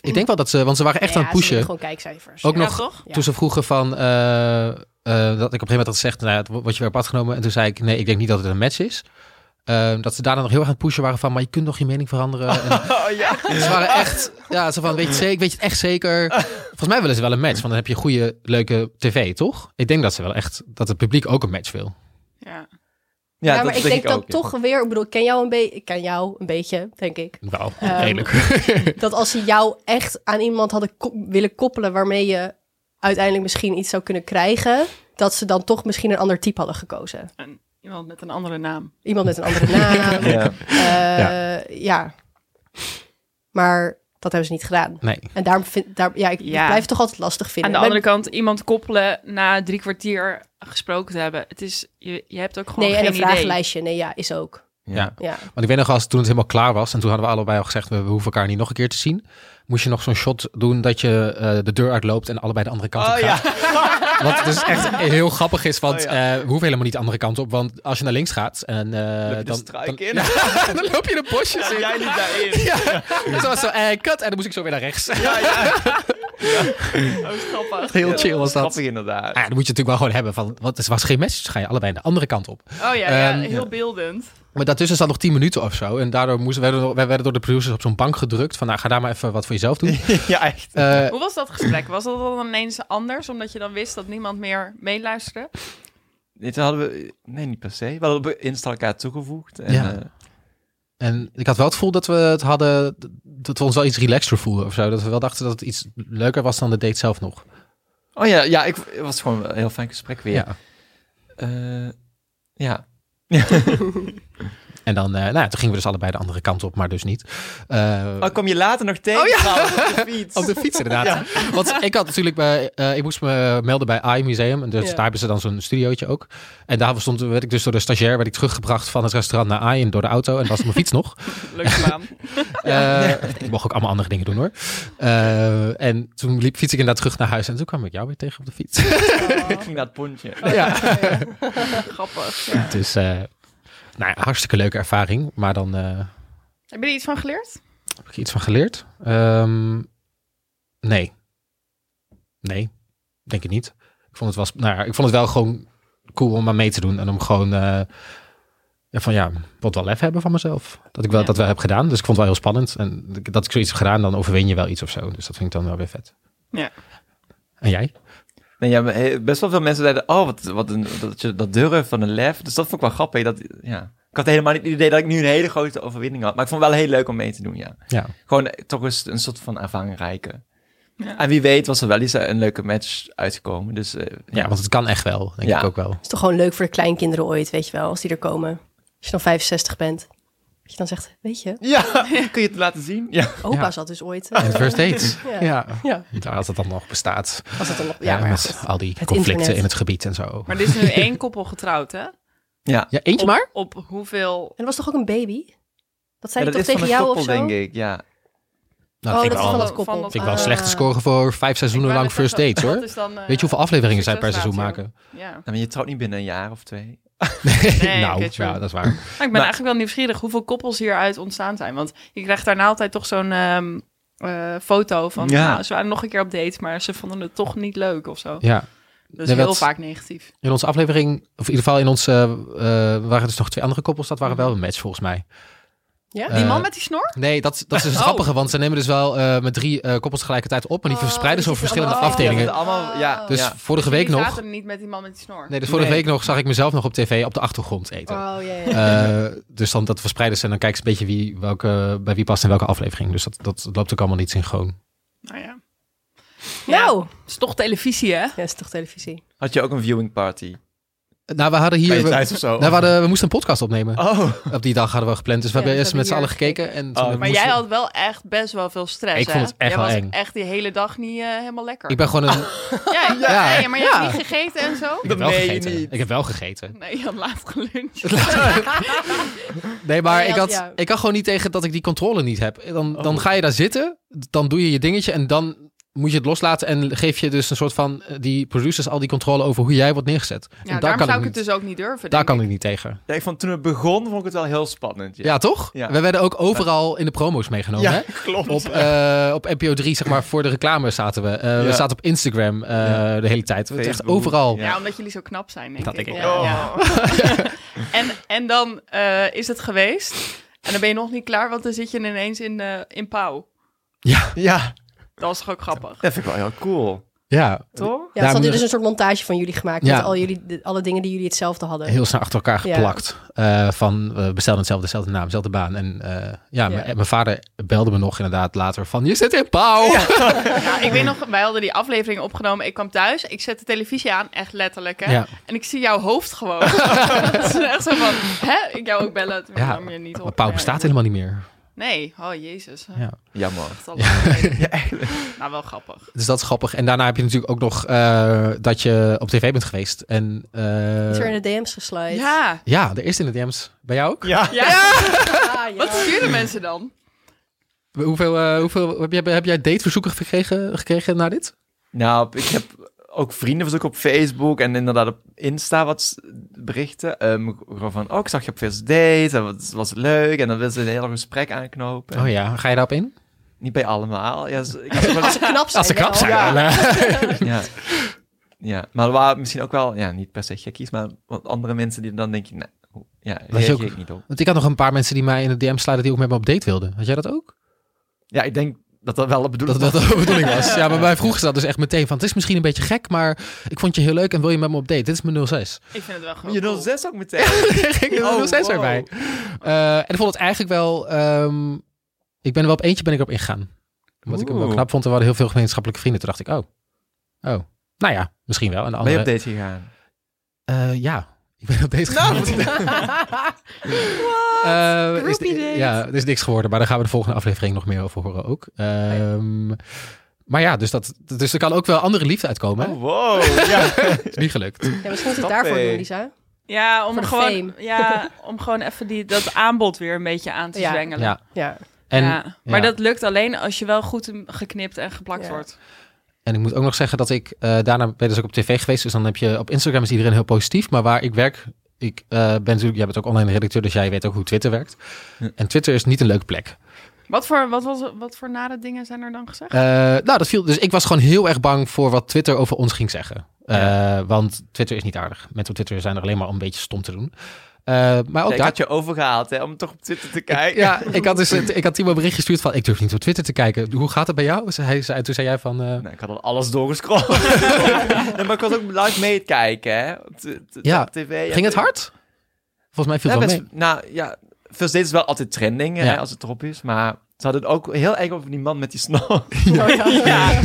[SPEAKER 5] Ik denk wel dat ze, want ze waren echt
[SPEAKER 3] Ja,
[SPEAKER 5] aan het
[SPEAKER 3] ze willen
[SPEAKER 5] pushen.
[SPEAKER 3] Gewoon kijkcijfers.
[SPEAKER 5] Ook
[SPEAKER 3] ja.
[SPEAKER 5] nog
[SPEAKER 8] toch?
[SPEAKER 3] Ja.
[SPEAKER 5] toen ze vroegen van, eh, eh, dat ik op een gegeven moment had gezegd, nou ja, het wo- word je weer apart genomen. En toen zei ik, nee, ik denk niet dat het een match is. Eh, dat ze daarna nog heel erg aan het pushen waren van, maar je kunt nog je mening veranderen.
[SPEAKER 3] (laughs)
[SPEAKER 5] En
[SPEAKER 3] Oh,
[SPEAKER 5] Ze waren echt, ja, zo van, weet je, het zeker, weet je het echt zeker? Volgens mij willen ze wel een match, want dan heb je goede, leuke tv, toch? Ik denk dat ze wel echt, dat het publiek ook een match wil.
[SPEAKER 8] Ja.
[SPEAKER 6] ja,
[SPEAKER 3] ja, maar ik denk dat
[SPEAKER 6] ook, ja.
[SPEAKER 3] toch weer, ik bedoel, ik ken jou een, be ik ken jou een beetje, denk ik.
[SPEAKER 5] Wel,
[SPEAKER 3] Ehm,
[SPEAKER 5] redelijk.
[SPEAKER 3] dat als ze jou echt aan iemand hadden ko- willen koppelen waarmee je uiteindelijk misschien iets zou kunnen krijgen, dat ze dan toch misschien een ander type hadden gekozen.
[SPEAKER 8] En iemand met een andere naam.
[SPEAKER 3] Iemand met een andere naam. eh,
[SPEAKER 6] Ja.
[SPEAKER 3] ja. Maar dat hebben ze niet gedaan.
[SPEAKER 5] (laughs) Nee.
[SPEAKER 3] En daarom vind daar, ja, ik ik
[SPEAKER 8] Ja.
[SPEAKER 3] blijf het toch altijd lastig
[SPEAKER 8] Aan
[SPEAKER 3] vinden.
[SPEAKER 8] de
[SPEAKER 3] Maar-
[SPEAKER 8] andere kant, iemand koppelen na drie kwartier gesproken te hebben. Het is, je, je hebt ook gewoon
[SPEAKER 3] nee, en
[SPEAKER 8] geen
[SPEAKER 3] een
[SPEAKER 8] idee.
[SPEAKER 3] vragenlijstje. Nee, ja, is ook.
[SPEAKER 5] Ja.
[SPEAKER 3] Ja.
[SPEAKER 5] Want ik weet nog als toen het helemaal klaar was en toen hadden we allebei al gezegd we hoeven elkaar niet nog een keer te zien. Moest je nog zo'n shot doen dat je eh, de deur uitloopt en allebei de andere kant op gaat. (laughs) Wat dus echt heel grappig is, want eh,
[SPEAKER 6] Oh,
[SPEAKER 5] we hoeven helemaal niet de andere kant op. Want als je naar links gaat en eh,
[SPEAKER 6] Loop je de
[SPEAKER 5] dan,
[SPEAKER 6] struik
[SPEAKER 5] dan,
[SPEAKER 6] in?
[SPEAKER 5] (laughs)
[SPEAKER 6] (laughs)
[SPEAKER 5] Ja, dan loop je de bosjes in.
[SPEAKER 6] Jij niet (laughs) daarin.
[SPEAKER 5] Dus dat was zo, eh, kut. En dan moest ik zo weer naar rechts. (laughs)
[SPEAKER 6] Ja, ja. Oh,
[SPEAKER 5] Heel chill was dat.
[SPEAKER 6] Grappig inderdaad.
[SPEAKER 5] Ah, dat moet je natuurlijk wel gewoon hebben. Van, want het was geen message, dus ga je allebei de andere kant op.
[SPEAKER 8] Oh ja, ja,
[SPEAKER 5] Ehm,
[SPEAKER 8] heel
[SPEAKER 5] ja.
[SPEAKER 8] beeldend.
[SPEAKER 5] Maar daartussen zat nog 10 minuten of zo. En daardoor moesten, werden, we- wij werden door de producers op zo'n bank gedrukt. Van nou, ga daar maar even wat voor jezelf doen.
[SPEAKER 6] (laughs) Ja, echt.
[SPEAKER 5] Eh,
[SPEAKER 8] Hoe was dat gesprek? Was dat dan ineens anders, omdat je dan wist dat niemand meer meeluisterde?
[SPEAKER 6] Dit hadden we... Nee, niet per se. We hadden op Insta elkaar toegevoegd. En,
[SPEAKER 5] Ja.
[SPEAKER 6] eh,
[SPEAKER 5] En ik had wel het gevoel dat we het hadden, dat we ons wel iets relaxter voelden of zo. Dat we wel dachten dat het iets leuker was dan de date zelf nog.
[SPEAKER 6] Oh ja, ja ik, het was gewoon een heel fijn gesprek weer.
[SPEAKER 5] Ja.
[SPEAKER 6] Eh, ja.
[SPEAKER 5] En dan, eh, nou ja, toen gingen we dus allebei de andere kant op, maar dus niet. Eh,
[SPEAKER 6] Oh, kom je later nog tegen? Oh op de fiets.
[SPEAKER 5] Op de fiets inderdaad. Want ik had natuurlijk bij, eh, ik moest me melden bij AI Museum. En dus
[SPEAKER 3] Ja.
[SPEAKER 5] daar hebben ze dan zo'n studiootje ook. En daar stond, werd ik dus door de stagiair werd ik teruggebracht van het restaurant naar AI en door de auto. En was op mijn fiets (laughs) nog.
[SPEAKER 8] Leuk gedaan.
[SPEAKER 5] Eh, Ik mocht ook allemaal andere dingen doen hoor. Eh, en toen liep, fiets ik inderdaad terug naar huis. En toen kwam ik jou weer tegen op de fiets.
[SPEAKER 6] (laughs) Ik ging naar het pontje.
[SPEAKER 5] ja.
[SPEAKER 8] (laughs) Grappig.
[SPEAKER 5] Dus eh, nou ja, hartstikke leuke ervaring. Maar dan eh,
[SPEAKER 8] Heb je er iets van geleerd?
[SPEAKER 5] heb ik er iets van geleerd. Ehm, nee. Nee, denk ik niet. Ik vond het, was, nou ja, ik vond het wel gewoon cool om aan mee te doen. En om gewoon eh, ja, van ja, wat wel lef hebben van mezelf. Dat ik wel,
[SPEAKER 8] Ja.
[SPEAKER 5] dat wel heb gedaan. Dus ik vond het wel heel spannend. En dat ik zoiets heb gedaan, dan overwin je wel iets of zo. Dus dat vind ik dan wel weer vet.
[SPEAKER 8] Ja.
[SPEAKER 5] En jij?
[SPEAKER 6] Nee, ja, maar he- best wel veel mensen zeiden, oh, wat, wat een, dat je dat durft van een lef. Dus dat vond ik wel grappig. Dat, ja. Ik had helemaal niet het idee dat ik nu een hele grote overwinning had. Maar ik vond het wel heel leuk om mee te doen, ja.
[SPEAKER 5] Ja.
[SPEAKER 6] Gewoon eh, toch eens een soort van ervaring rijken. En wie weet was er wel eens eh, een leuke match uitgekomen. Dus eh,
[SPEAKER 5] ja, want het kan echt wel, denk
[SPEAKER 6] Ja.
[SPEAKER 5] ik ook wel.
[SPEAKER 3] is toch gewoon leuk voor de kleinkinderen ooit, weet je wel, als die er komen. Als je dan 65 bent. Dat je dan zegt, weet je,
[SPEAKER 6] Ja,
[SPEAKER 3] (laughs)
[SPEAKER 6] kun je het laten zien? Ja.
[SPEAKER 3] opa
[SPEAKER 5] Ja.
[SPEAKER 3] zat dus ooit.
[SPEAKER 5] En first dates.
[SPEAKER 3] Ja.
[SPEAKER 5] Ja.
[SPEAKER 3] Ja.
[SPEAKER 5] Nou, als dat dan nog bestaat.
[SPEAKER 3] Was dat dan nog? Ja,
[SPEAKER 5] Ja,
[SPEAKER 3] maar ja,
[SPEAKER 5] met
[SPEAKER 3] goed.
[SPEAKER 5] al die conflicten
[SPEAKER 3] internet.
[SPEAKER 5] in het gebied en zo.
[SPEAKER 8] Maar er is nu één koppel getrouwd, hè?
[SPEAKER 6] Ja.
[SPEAKER 5] Ja, eentje maar?
[SPEAKER 8] Op hoeveel...
[SPEAKER 3] En er was toch ook een baby? Dat zei hij
[SPEAKER 6] Ja, dat
[SPEAKER 3] toch tegen
[SPEAKER 6] van een
[SPEAKER 3] jou of
[SPEAKER 6] koppel,
[SPEAKER 3] zo?
[SPEAKER 6] denk ik, ja.
[SPEAKER 5] Nou,
[SPEAKER 3] oh,
[SPEAKER 5] vind
[SPEAKER 3] dat
[SPEAKER 5] ik
[SPEAKER 3] is
[SPEAKER 5] wel,
[SPEAKER 3] van dat
[SPEAKER 8] van
[SPEAKER 3] koppel.
[SPEAKER 8] dat-
[SPEAKER 5] vind ik wel
[SPEAKER 3] Ah.
[SPEAKER 5] een slechte score voor vijf seizoenen
[SPEAKER 8] Ik wou
[SPEAKER 5] lang
[SPEAKER 8] net
[SPEAKER 5] first
[SPEAKER 8] zeggen,
[SPEAKER 5] dates,
[SPEAKER 8] dat
[SPEAKER 5] hoor.
[SPEAKER 8] is dan, eh,
[SPEAKER 5] Weet je hoeveel afleveringen zij per seizoen
[SPEAKER 8] succesratio.
[SPEAKER 5] maken? (laughs)
[SPEAKER 8] Ja.
[SPEAKER 6] Nou, maar je trouwt niet binnen een jaar of twee.
[SPEAKER 8] Nee,
[SPEAKER 5] nou,
[SPEAKER 8] oké, true.
[SPEAKER 5] ja, dat is waar.
[SPEAKER 8] Maar ik ben
[SPEAKER 6] Maar-
[SPEAKER 8] eigenlijk wel nieuwsgierig hoeveel koppels hieruit ontstaan zijn. Want je krijgt daarna altijd toch zo'n ehm, eh, foto van...
[SPEAKER 6] Ja.
[SPEAKER 8] Nou, ze waren nog een keer op date, maar ze vonden het toch niet leuk of zo.
[SPEAKER 5] Ja.
[SPEAKER 8] Dat is
[SPEAKER 5] Nee,
[SPEAKER 8] heel
[SPEAKER 5] dat-
[SPEAKER 8] vaak negatief.
[SPEAKER 5] In onze aflevering, of in ieder geval in onze, eh, eh, waren dus nog twee andere koppels, dat waren wel een match volgens mij.
[SPEAKER 3] Ja?
[SPEAKER 5] Eh,
[SPEAKER 8] Die man met die snor?
[SPEAKER 5] Nee, dat, dat is dus het grappige, want ze nemen dus wel eh, met drie eh, koppels tegelijkertijd op, maar die
[SPEAKER 3] Oh,
[SPEAKER 5] verspreiden ze
[SPEAKER 3] die
[SPEAKER 5] over
[SPEAKER 3] zitten
[SPEAKER 5] verschillende
[SPEAKER 3] allemaal-
[SPEAKER 5] afdelingen.
[SPEAKER 6] Dat allemaal, ja.
[SPEAKER 5] Dus
[SPEAKER 6] ja.
[SPEAKER 5] vorige week
[SPEAKER 8] Die
[SPEAKER 5] nog,
[SPEAKER 8] zaten niet met die man met die snor.
[SPEAKER 5] nee, dus vorige
[SPEAKER 6] Nee.
[SPEAKER 5] week nog zag ik mezelf nog op tv op de achtergrond eten.
[SPEAKER 3] Oh, ja, ja.
[SPEAKER 5] Eh, dus dan dat verspreiden ze en dan kijken ze een beetje wie, welke, bij wie past in welke aflevering. Dus dat, dat loopt ook allemaal niet synchroon.
[SPEAKER 8] Nou ja.
[SPEAKER 3] Nou,
[SPEAKER 8] Het is toch televisie, hè?
[SPEAKER 3] ja, is toch televisie.
[SPEAKER 6] Had je ook een viewing party?
[SPEAKER 5] Nou, we hadden
[SPEAKER 6] Bij
[SPEAKER 5] hier...
[SPEAKER 6] je
[SPEAKER 5] We,
[SPEAKER 6] thuis of zo?
[SPEAKER 5] nou, we, hadden- we moesten een podcast opnemen.
[SPEAKER 6] Oh.
[SPEAKER 5] Op die dag hadden we gepland. Dus we
[SPEAKER 3] Ja,
[SPEAKER 5] hebben
[SPEAKER 3] dus
[SPEAKER 5] eerst met z'n
[SPEAKER 3] hebben
[SPEAKER 5] allen
[SPEAKER 3] we hier
[SPEAKER 5] gekeken. En
[SPEAKER 6] Oh.
[SPEAKER 5] toen
[SPEAKER 6] Maar
[SPEAKER 8] Maar
[SPEAKER 5] moesten-
[SPEAKER 8] jij had wel echt best wel veel stress,
[SPEAKER 5] Ik
[SPEAKER 8] hè?
[SPEAKER 5] vond het echt
[SPEAKER 8] jij
[SPEAKER 5] wel
[SPEAKER 8] was
[SPEAKER 5] eng.
[SPEAKER 8] echt die hele dag niet eh, helemaal lekker.
[SPEAKER 5] Ik ben
[SPEAKER 6] (laughs)
[SPEAKER 5] gewoon een...
[SPEAKER 8] Ja, ja,
[SPEAKER 5] Ja.
[SPEAKER 8] nee, maar je hebt niet gegeten en zo?
[SPEAKER 5] Ik heb
[SPEAKER 6] Dat
[SPEAKER 5] wel
[SPEAKER 6] meen je
[SPEAKER 5] gegeten.
[SPEAKER 6] niet.
[SPEAKER 5] Ik heb wel gegeten.
[SPEAKER 8] Nee, je had laat geluncht.
[SPEAKER 5] (laughs) Nee, maar
[SPEAKER 3] Oh, Ja,
[SPEAKER 5] ik,
[SPEAKER 3] ja,
[SPEAKER 5] had,
[SPEAKER 3] ja.
[SPEAKER 5] ik kan gewoon niet tegen dat ik die controle niet heb. Dan,
[SPEAKER 6] Oh.
[SPEAKER 5] dan ga je daar zitten, dan doe je je dingetje en dan moet je het loslaten en geef je dus een soort van eh, die producers al die controle over hoe jij wordt neergezet.
[SPEAKER 8] Ja,
[SPEAKER 5] en daar
[SPEAKER 8] daarom
[SPEAKER 5] kan
[SPEAKER 8] zou
[SPEAKER 5] ik
[SPEAKER 8] ik het
[SPEAKER 5] niet,
[SPEAKER 8] dus ook niet durven.
[SPEAKER 5] daar
[SPEAKER 8] denk
[SPEAKER 5] kan
[SPEAKER 8] ik.
[SPEAKER 5] ik niet tegen.
[SPEAKER 6] Ja, ik vond toen het begon, vond ik het wel heel spannend.
[SPEAKER 5] Ja, toch?
[SPEAKER 6] Ja.
[SPEAKER 5] We werden ook overal in de promo's meegenomen.
[SPEAKER 6] Ja,
[SPEAKER 5] hè?
[SPEAKER 6] (laughs) klopt.
[SPEAKER 5] Op, eh, op NPO 3, zeg maar, voor de reclame zaten we. Eh, We
[SPEAKER 6] Ja.
[SPEAKER 5] zaten op Instagram eh,
[SPEAKER 6] Ja.
[SPEAKER 5] de hele tijd. We echt
[SPEAKER 6] Facebook.
[SPEAKER 5] overal.
[SPEAKER 8] Ja, omdat jullie zo knap zijn, denk
[SPEAKER 5] Dat
[SPEAKER 8] ik.
[SPEAKER 5] denk ik
[SPEAKER 8] Ja,
[SPEAKER 6] ook.
[SPEAKER 8] ja. (laughs) en, en dan eh, is het geweest. En dan ben je nog niet klaar, want dan zit je ineens in, eh, in pauw.
[SPEAKER 6] Ja,
[SPEAKER 8] Dat was toch ook grappig?
[SPEAKER 6] dat vind ik wel heel cool.
[SPEAKER 5] Ja,
[SPEAKER 6] Toch?
[SPEAKER 3] Ja, ze hadden
[SPEAKER 5] maar-
[SPEAKER 3] dus een soort montage van jullie gemaakt.
[SPEAKER 5] Ja.
[SPEAKER 3] Met al jullie, de- alle dingen die jullie hetzelfde hadden.
[SPEAKER 5] heel snel achter elkaar
[SPEAKER 3] Ja.
[SPEAKER 5] geplakt. Eh, van we bestelden hetzelfde, dezelfde naam, dezelfde baan. En eh, ja, m- en mijn vader belde me nog inderdaad later van je zit in pauw. Ja,
[SPEAKER 8] Ja, ik weet nog, wij hadden die aflevering opgenomen. Ik kwam thuis, ik zet de televisie aan, echt letterlijk. Hè?
[SPEAKER 5] Ja.
[SPEAKER 8] En ik zie jouw hoofd
[SPEAKER 5] (laughs)
[SPEAKER 8] gewoon. Het is echt zo van, hè? Ik jou ook bellen, toen nam je niet op.
[SPEAKER 5] maar pauw
[SPEAKER 8] Ja,
[SPEAKER 5] bestaat
[SPEAKER 8] ja.
[SPEAKER 5] helemaal niet meer.
[SPEAKER 8] Nee, oh jezus.
[SPEAKER 5] Ja.
[SPEAKER 6] Jammer.
[SPEAKER 8] Echt al lang
[SPEAKER 5] (laughs)
[SPEAKER 8] geleden. Nou, wel grappig.
[SPEAKER 5] Dus dat is grappig. En daarna heb je natuurlijk ook nog eh, dat je op tv bent geweest. En eh,
[SPEAKER 3] Is er in de DM's geslide.
[SPEAKER 8] Ja.
[SPEAKER 5] ja, er is in de DM's. Bij jou ook?
[SPEAKER 6] Ja.
[SPEAKER 8] Ja.
[SPEAKER 3] Ah, ja.
[SPEAKER 8] (laughs) Wat sturen mensen dan?
[SPEAKER 5] Hoeveel, eh, hoeveel, heb, jij, heb jij dateverzoeken gekregen, gekregen na dit?
[SPEAKER 6] Nou, ik heb ook vriendenverzoek op Facebook en inderdaad op Insta wat s- berichten. Ehm, gewoon van, oh, ik zag je op first date en wat was leuk. En dan wilden ze een heel gesprek aanknopen.
[SPEAKER 5] Oh ja, ga je daarop in?
[SPEAKER 6] Niet bij allemaal. Ja, ze- ik had ook
[SPEAKER 5] (laughs)
[SPEAKER 6] wel-
[SPEAKER 3] Knap zijn.
[SPEAKER 5] Als ze knap
[SPEAKER 3] wel.
[SPEAKER 5] zijn.
[SPEAKER 6] Ja.
[SPEAKER 5] dan, eh.
[SPEAKER 6] ja. ja, maar er waren misschien ook wel, ja, niet per se gekkies, maar wat andere mensen die dan denk je, nee, hoe- ja, reageer
[SPEAKER 5] ook-
[SPEAKER 6] ik niet op.
[SPEAKER 5] (laughs) Want ik had nog een paar mensen die mij in de DM sluiten die ook met me op date wilden. Had jij dat ook?
[SPEAKER 6] Ja, ik denk dat dat wel de bedoeling
[SPEAKER 5] Dat dat (laughs) de bedoeling was. Ja, maar wij vroegen ze dat dus echt meteen van... het is misschien een beetje gek, maar ik vond je heel leuk en wil je met me op date? Dit is mijn 06.
[SPEAKER 8] Ik vind het wel gewoon
[SPEAKER 6] Je
[SPEAKER 8] cool.
[SPEAKER 6] 06 ook meteen.
[SPEAKER 5] (laughs) ging er
[SPEAKER 6] Oh,
[SPEAKER 5] 06
[SPEAKER 6] wow.
[SPEAKER 5] erbij. Eh, en ik vond het eigenlijk wel... ehm, ik ben er wel op eentje ben ik erop ingegaan. Omdat ik hem wel
[SPEAKER 6] Oeh.
[SPEAKER 5] knap vond. Er waren heel veel gemeenschappelijke vrienden. Toen dacht ik, oh. Oh. Nou ja, misschien wel. En de
[SPEAKER 6] Ben je
[SPEAKER 5] andere,
[SPEAKER 6] op date gegaan?
[SPEAKER 5] Eh, ja. Ik ben op date gegaan. Nou. (laughs) Eh, is,
[SPEAKER 9] Groupie date.
[SPEAKER 5] ja, er is niks geworden. Maar daar gaan we de volgende aflevering nog meer over horen ook. Ehm, Maar ja, dus, dat, dus er kan ook wel andere liefde uitkomen. hè?
[SPEAKER 6] Oh, wow. Ja.
[SPEAKER 5] Is niet gelukt.
[SPEAKER 3] Ja, misschien is het
[SPEAKER 6] Knap,
[SPEAKER 3] daarvoor
[SPEAKER 6] hé.
[SPEAKER 3] doen, Lisa.
[SPEAKER 8] Ja,
[SPEAKER 3] Voor
[SPEAKER 8] om
[SPEAKER 3] de
[SPEAKER 8] gewoon, (laughs) ja, om gewoon even die, dat aanbod weer een beetje aan te
[SPEAKER 3] Ja.
[SPEAKER 8] zwengelen.
[SPEAKER 5] Ja.
[SPEAKER 3] Ja.
[SPEAKER 5] En,
[SPEAKER 8] Ja. Maar
[SPEAKER 5] ja.
[SPEAKER 8] dat lukt alleen als je wel goed geknipt en geplakt
[SPEAKER 3] Ja.
[SPEAKER 8] wordt.
[SPEAKER 5] En ik moet ook nog zeggen dat ik eh, daarna ben dus ook op tv geweest. Dus dan heb je op Instagram is iedereen heel positief. Maar waar ik werk, ik eh, ben natuurlijk, jij bent ook online redacteur, dus jij weet ook hoe Twitter werkt. En Twitter is niet een leuke plek.
[SPEAKER 8] Wat voor, wat, was, wat voor nare dingen zijn er dan gezegd?
[SPEAKER 5] Eh, nou, dat viel. Dus ik was gewoon heel erg bang voor wat Twitter over ons ging zeggen. Eh, Want Twitter is niet aardig. Mensen op Twitter zijn er alleen maar om een beetje stom te doen. Eh, maar ook
[SPEAKER 6] ik
[SPEAKER 5] daar
[SPEAKER 6] had je overgehaald hè, om toch op Twitter te kijken.
[SPEAKER 5] Ja, ik had, dus, ik had Timo een bericht gestuurd van... ik durf niet op Twitter te kijken. Hoe gaat het bij jou? Ze- Hij, zei- toen zei jij van... eh,
[SPEAKER 6] Nou, ik had al
[SPEAKER 5] (laughs)
[SPEAKER 6] alles doorgescrollt. nee, maar ik was ook live meekijken, hè? Op de- de-
[SPEAKER 5] Ja.
[SPEAKER 6] op tv.
[SPEAKER 5] ging het hard? Volgens mij viel
[SPEAKER 6] Ja,
[SPEAKER 5] het wel
[SPEAKER 6] best-
[SPEAKER 5] mee.
[SPEAKER 6] Nou ja, First Date is wel altijd trending hè,
[SPEAKER 5] Ja.
[SPEAKER 6] als het erop is. Maar ze hadden het ook heel erg over die man met die snor. (laughs)
[SPEAKER 8] (laughs) Ja.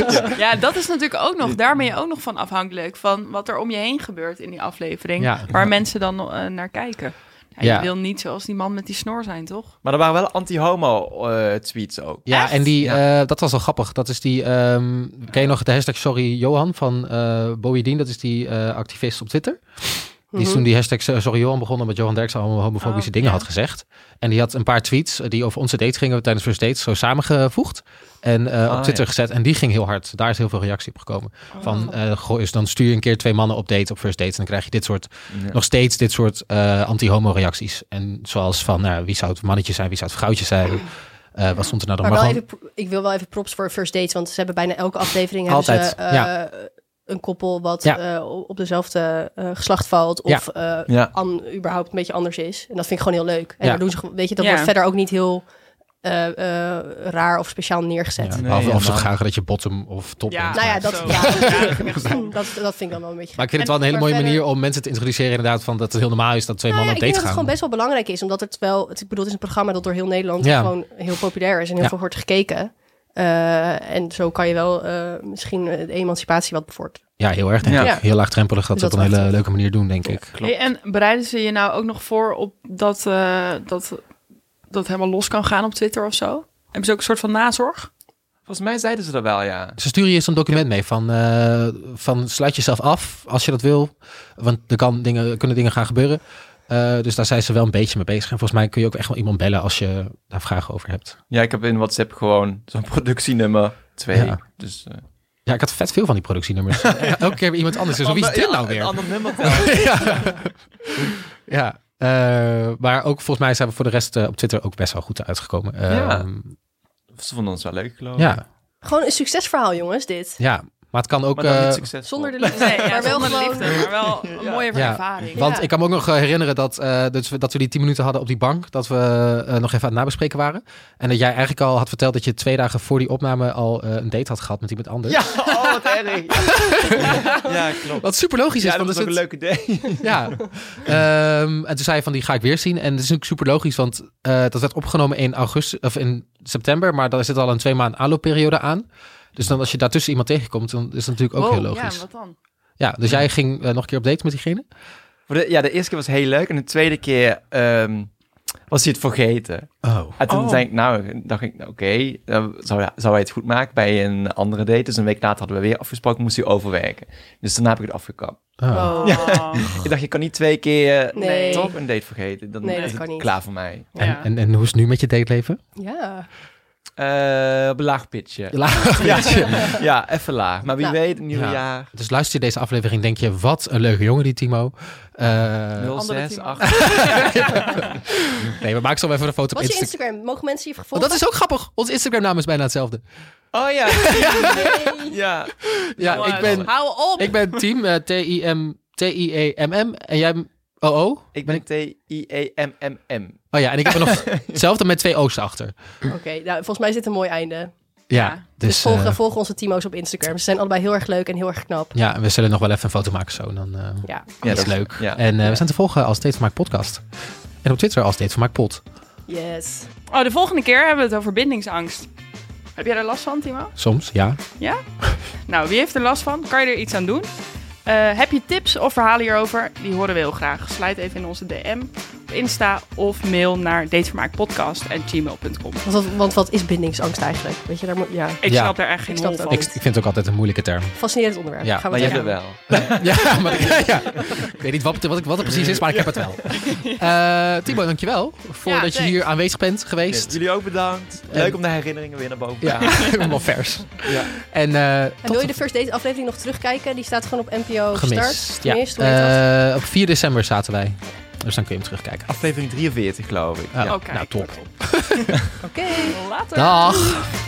[SPEAKER 8] ja, dat is natuurlijk ook nog. Daar ben je ook nog van afhankelijk van wat er om je heen gebeurt in die aflevering.
[SPEAKER 5] Ja.
[SPEAKER 8] Waar mensen dan eh, naar kijken. Ja,
[SPEAKER 5] Ja.
[SPEAKER 8] Je wil niet zoals die man met die snor zijn, toch?
[SPEAKER 6] maar er waren wel anti-homo eh, tweets ook.
[SPEAKER 5] Ja,
[SPEAKER 8] Echt?
[SPEAKER 5] en die, eh, dat was wel grappig. Dat is die, ehm ken je nog de hashtag Sorry Johan van eh Bowie Dean? Dat is die eh, activist op Twitter. Die is toen die hashtag eh, Sorry Johan begonnen met Johan Derksen allemaal homofobische
[SPEAKER 8] Mhm. Oh,
[SPEAKER 5] dingen
[SPEAKER 8] ja.
[SPEAKER 5] had gezegd. En die had een paar tweets eh, die over onze date gingen tijdens First Dates zo samengevoegd. En eh, op
[SPEAKER 6] Ah,
[SPEAKER 5] Twitter
[SPEAKER 6] ja.
[SPEAKER 5] gezet. En die ging heel hard. Daar is heel veel reactie op gekomen.
[SPEAKER 8] Oh.
[SPEAKER 5] Van, eh, goh, dus dan stuur je een keer twee mannen op date op First Dates. En dan krijg je dit soort,
[SPEAKER 6] Ja.
[SPEAKER 5] nog steeds dit soort eh, anti-homo reacties. En zoals van, nou, wie zou het mannetje zijn? Wie zou het vrouwtje zijn? Eh, wat stond er nou dan?
[SPEAKER 3] Maar wel
[SPEAKER 5] gewoon-
[SPEAKER 3] even, pro- ik wil wel even props voor First Dates, want ze hebben bijna elke aflevering hebben
[SPEAKER 5] Altijd,
[SPEAKER 3] ze, eh,
[SPEAKER 5] ja.
[SPEAKER 3] een koppel wat
[SPEAKER 5] Ja.
[SPEAKER 3] eh, op dezelfde eh, geslacht valt of eh,
[SPEAKER 6] Ja.
[SPEAKER 3] an- überhaupt een beetje anders is. En dat vind ik gewoon heel leuk. En
[SPEAKER 5] Ja.
[SPEAKER 3] daar doen ze, gewoon- weet je, dat
[SPEAKER 8] Ja.
[SPEAKER 3] wordt verder ook niet heel eh, eh, raar of speciaal neergezet.
[SPEAKER 5] Ja,
[SPEAKER 6] Nee,
[SPEAKER 5] behalve of ze
[SPEAKER 6] helemaal.
[SPEAKER 5] graag dat je bottom of top
[SPEAKER 8] Ja.
[SPEAKER 5] bent.
[SPEAKER 3] Nou ja, dat,
[SPEAKER 8] Zo.
[SPEAKER 3] ja.
[SPEAKER 8] Ja, dat vind ik
[SPEAKER 3] (laughs)
[SPEAKER 8] echt zo.
[SPEAKER 3] dat, dat vind ik dan wel een beetje.
[SPEAKER 5] Maar ik vind het
[SPEAKER 3] En-
[SPEAKER 5] wel een hele mooie
[SPEAKER 3] maar verder-
[SPEAKER 5] manier om mensen te introduceren inderdaad van dat het heel normaal is dat twee
[SPEAKER 3] Nou ja,
[SPEAKER 5] mannen
[SPEAKER 3] ik
[SPEAKER 5] op
[SPEAKER 3] denk dat het
[SPEAKER 5] date
[SPEAKER 3] gewoon
[SPEAKER 5] gaan.
[SPEAKER 3] best wel belangrijk is, omdat het wel, het, ik bedoel, het is een programma dat door heel Nederland
[SPEAKER 5] Ja.
[SPEAKER 3] gewoon heel populair is en heel
[SPEAKER 5] Ja.
[SPEAKER 3] veel wordt gekeken. Eh, en zo kan je wel eh, misschien eh, de emancipatie wat bevorderen.
[SPEAKER 5] Ja, heel erg denk
[SPEAKER 6] Ja.
[SPEAKER 5] ik. Heel laagdrempelig dat
[SPEAKER 3] Dus
[SPEAKER 5] ze dat op
[SPEAKER 3] dat
[SPEAKER 5] een
[SPEAKER 3] wel
[SPEAKER 5] hele
[SPEAKER 3] echt.
[SPEAKER 5] leuke manier doen, denk ik.
[SPEAKER 8] Hey, en bereiden ze je nou ook nog voor op dat, eh, dat dat helemaal los kan gaan op Twitter of zo? Hebben ze ook een soort van nazorg?
[SPEAKER 6] Volgens mij zeiden ze dat wel, ja.
[SPEAKER 5] Ze sturen je eens een document mee van, eh, van sluit jezelf af als je dat wil. Want er kan dingen, kunnen dingen gaan gebeuren. Eh, dus daar zijn ze wel een beetje mee bezig. En volgens mij kun je ook echt wel iemand bellen als je daar vragen over hebt.
[SPEAKER 6] Ja, ik heb in WhatsApp gewoon zo'n productienummer 2.
[SPEAKER 5] Ja.
[SPEAKER 6] Dus, eh,
[SPEAKER 5] Ja, ik had vet veel van die
[SPEAKER 3] (laughs)
[SPEAKER 5] productienummers. Elke keer weer iemand anders. Dus wie is dit
[SPEAKER 6] Ander-
[SPEAKER 5] nou
[SPEAKER 6] ja,
[SPEAKER 5] weer?
[SPEAKER 6] Een ander (laughs) nummer.
[SPEAKER 5] (laughs) ja. ja. eh, maar ook volgens mij zijn we voor de rest eh, op Twitter ook best wel goed uitgekomen.
[SPEAKER 6] Ja.
[SPEAKER 5] Ehm,
[SPEAKER 6] ze vonden ons wel leuk, geloof ik.
[SPEAKER 5] ja,
[SPEAKER 3] Gewoon een succesverhaal, jongens, dit.
[SPEAKER 5] ja. Maar het kan ook.
[SPEAKER 6] Maar dan
[SPEAKER 5] eh,
[SPEAKER 6] niet succesvol.
[SPEAKER 3] Zonder de
[SPEAKER 8] Nee,
[SPEAKER 3] liefde, (laughs)
[SPEAKER 8] ja,
[SPEAKER 3] maar wel
[SPEAKER 8] zonder
[SPEAKER 3] gewoon...
[SPEAKER 8] liefde, maar
[SPEAKER 3] (laughs)
[SPEAKER 8] wel een mooie
[SPEAKER 5] Ja.
[SPEAKER 8] ervaring.
[SPEAKER 5] want
[SPEAKER 3] Ja.
[SPEAKER 5] ik kan me ook nog eh, herinneren dat, eh, dat, we, dat we die 10 minuten hadden op die bank. Dat we eh, nog even aan het nabespreken waren. En dat jij eigenlijk al had verteld dat je twee dagen voor die opname al eh, een date had gehad met iemand anders.
[SPEAKER 6] Ja, oh, wat erg. ja, klopt.
[SPEAKER 5] Wat super logisch is.
[SPEAKER 6] Ja, dat
[SPEAKER 5] want
[SPEAKER 6] was ook
[SPEAKER 5] is
[SPEAKER 6] een
[SPEAKER 5] het-
[SPEAKER 6] leuke idee.
[SPEAKER 5] Ja. Ehm, en toen zei hij van die ga ik weer zien. En dat is natuurlijk super logisch, want eh, dat werd opgenomen in augustus of in september, maar daar zit al een twee maand aanloopperiode aan. Dus dan als je daartussen iemand tegenkomt, dan is dat natuurlijk ook heel
[SPEAKER 8] ja,
[SPEAKER 5] logisch. Ja,
[SPEAKER 8] wat dan?
[SPEAKER 5] dus jij ging eh, nog een keer op date met diegene?
[SPEAKER 6] Voor de- ja, de eerste keer was heel leuk. En de tweede keer ehm, was hij het vergeten.
[SPEAKER 5] Oh.
[SPEAKER 6] En toen
[SPEAKER 8] Oh.
[SPEAKER 6] zei ik, nou, dacht ik, nou, oké, dan zou, hij- zou hij het goed maken bij een andere date. Dus een week later hadden we weer afgesproken, moest hij overwerken. Dus daarna heb ik het afgekapt.
[SPEAKER 8] Oh.
[SPEAKER 6] Ik dacht, je kan niet twee keer eh,
[SPEAKER 3] Nee.
[SPEAKER 6] toch een date vergeten. Dan
[SPEAKER 3] Nee, dat
[SPEAKER 6] is het
[SPEAKER 3] kan niet.
[SPEAKER 6] klaar voor mij.
[SPEAKER 5] En,
[SPEAKER 8] Ja.
[SPEAKER 5] en, en hoe is het nu met je dateleven?
[SPEAKER 3] Ja.
[SPEAKER 6] Eh, op een laag pitje.
[SPEAKER 5] Laag.
[SPEAKER 6] Ja, (laughs) ja, even laag. Maar wie
[SPEAKER 3] Nou,
[SPEAKER 6] weet, een nieuw
[SPEAKER 5] ja.
[SPEAKER 6] jaar.
[SPEAKER 5] Dus luister je deze aflevering, denk je, wat een leuke jongen die Timo. Eh
[SPEAKER 6] 06,
[SPEAKER 8] team.
[SPEAKER 6] 8.
[SPEAKER 5] nee, we maken zo even een foto op
[SPEAKER 3] Wat is je
[SPEAKER 5] Instagram.
[SPEAKER 3] Instagram? Mogen mensen je
[SPEAKER 5] Oh,
[SPEAKER 3] gevolgd?
[SPEAKER 5] dat is ook grappig. Ons Instagram naam is bijna hetzelfde.
[SPEAKER 6] Oh ja. ja.
[SPEAKER 5] Ja,
[SPEAKER 8] Jongens,
[SPEAKER 5] ik ben,
[SPEAKER 8] Hou op!
[SPEAKER 5] Ik ben team eh, T-I-M, T-I-E-M-M. E En jij... Oh,
[SPEAKER 6] Ik ben E T-I-E-M-M-M.
[SPEAKER 5] Oh ja, en ik heb er
[SPEAKER 6] (laughs)
[SPEAKER 5] nog hetzelfde met twee O's achter.
[SPEAKER 3] Oké, nou, volgens mij is dit een mooi einde.
[SPEAKER 5] Ja,
[SPEAKER 8] Ja,
[SPEAKER 5] dus...
[SPEAKER 3] Dus, volg,
[SPEAKER 5] eh,
[SPEAKER 3] volg onze Timo's op Instagram. Ze zijn allebei heel erg leuk en heel erg knap.
[SPEAKER 5] ja, en we zullen nog wel even een foto maken zo. Dan eh,
[SPEAKER 3] Ja.
[SPEAKER 6] Ja,
[SPEAKER 5] is
[SPEAKER 6] dat-
[SPEAKER 5] het leuk.
[SPEAKER 6] ja.
[SPEAKER 5] En eh, we zijn te volgen als Steeds Vermaak Podcast. En op Twitter als Steeds Vermaak Pod.
[SPEAKER 3] Yes.
[SPEAKER 8] Oh, de volgende keer hebben we het over bindingsangst. Heb jij daar last van, Timo?
[SPEAKER 5] Soms, ja.
[SPEAKER 8] Nou, wie heeft er last van? Kan je er iets aan doen? Eh, heb je tips of verhalen hierover? Die horen we heel graag. Sluit even in onze DM, op Insta of mail naar datevermaakpodcast.gmail.com.
[SPEAKER 3] Want wat, want wat is bindingsangst eigenlijk? Weet je, daar moet... Ja,
[SPEAKER 8] Ik
[SPEAKER 5] Ja.
[SPEAKER 8] snap daar echt geen
[SPEAKER 3] Ik snap
[SPEAKER 8] hol
[SPEAKER 3] dat
[SPEAKER 8] van.
[SPEAKER 5] Ik, ik vind het ook altijd een moeilijke term.
[SPEAKER 3] fascinerend onderwerp.
[SPEAKER 5] Ja,
[SPEAKER 3] Gaan we
[SPEAKER 6] Maar jij
[SPEAKER 3] het
[SPEAKER 6] hebt het
[SPEAKER 3] over
[SPEAKER 6] wel.
[SPEAKER 5] ja, maar (laughs) ik, ja. ik weet niet wat, het- wat, het- wat het precies is, maar ik heb het wel. Eh Timo, dankjewel voordat je
[SPEAKER 8] thanks.
[SPEAKER 5] hier aanwezig bent geweest.
[SPEAKER 6] Jullie ook bedankt. Leuk om de herinneringen weer naar boven te
[SPEAKER 5] Ja, (laughs)
[SPEAKER 6] halen.
[SPEAKER 5] helemaal vers.
[SPEAKER 6] Ja.
[SPEAKER 5] En, eh,
[SPEAKER 3] En wil je de First Date aflevering nog terugkijken? Die staat gewoon op NPO
[SPEAKER 5] gemist.
[SPEAKER 3] Start.
[SPEAKER 5] Ja.
[SPEAKER 3] Gemist, hoe heet dat?
[SPEAKER 5] Eh, op 4 december zaten wij. Dus dan kun je hem terugkijken. Ah, nou,
[SPEAKER 6] Aflevering 43, geloof ik.
[SPEAKER 5] Ja,
[SPEAKER 8] Oh, kijk.
[SPEAKER 5] nou, top.
[SPEAKER 3] Oké.
[SPEAKER 8] Later.
[SPEAKER 5] Dag!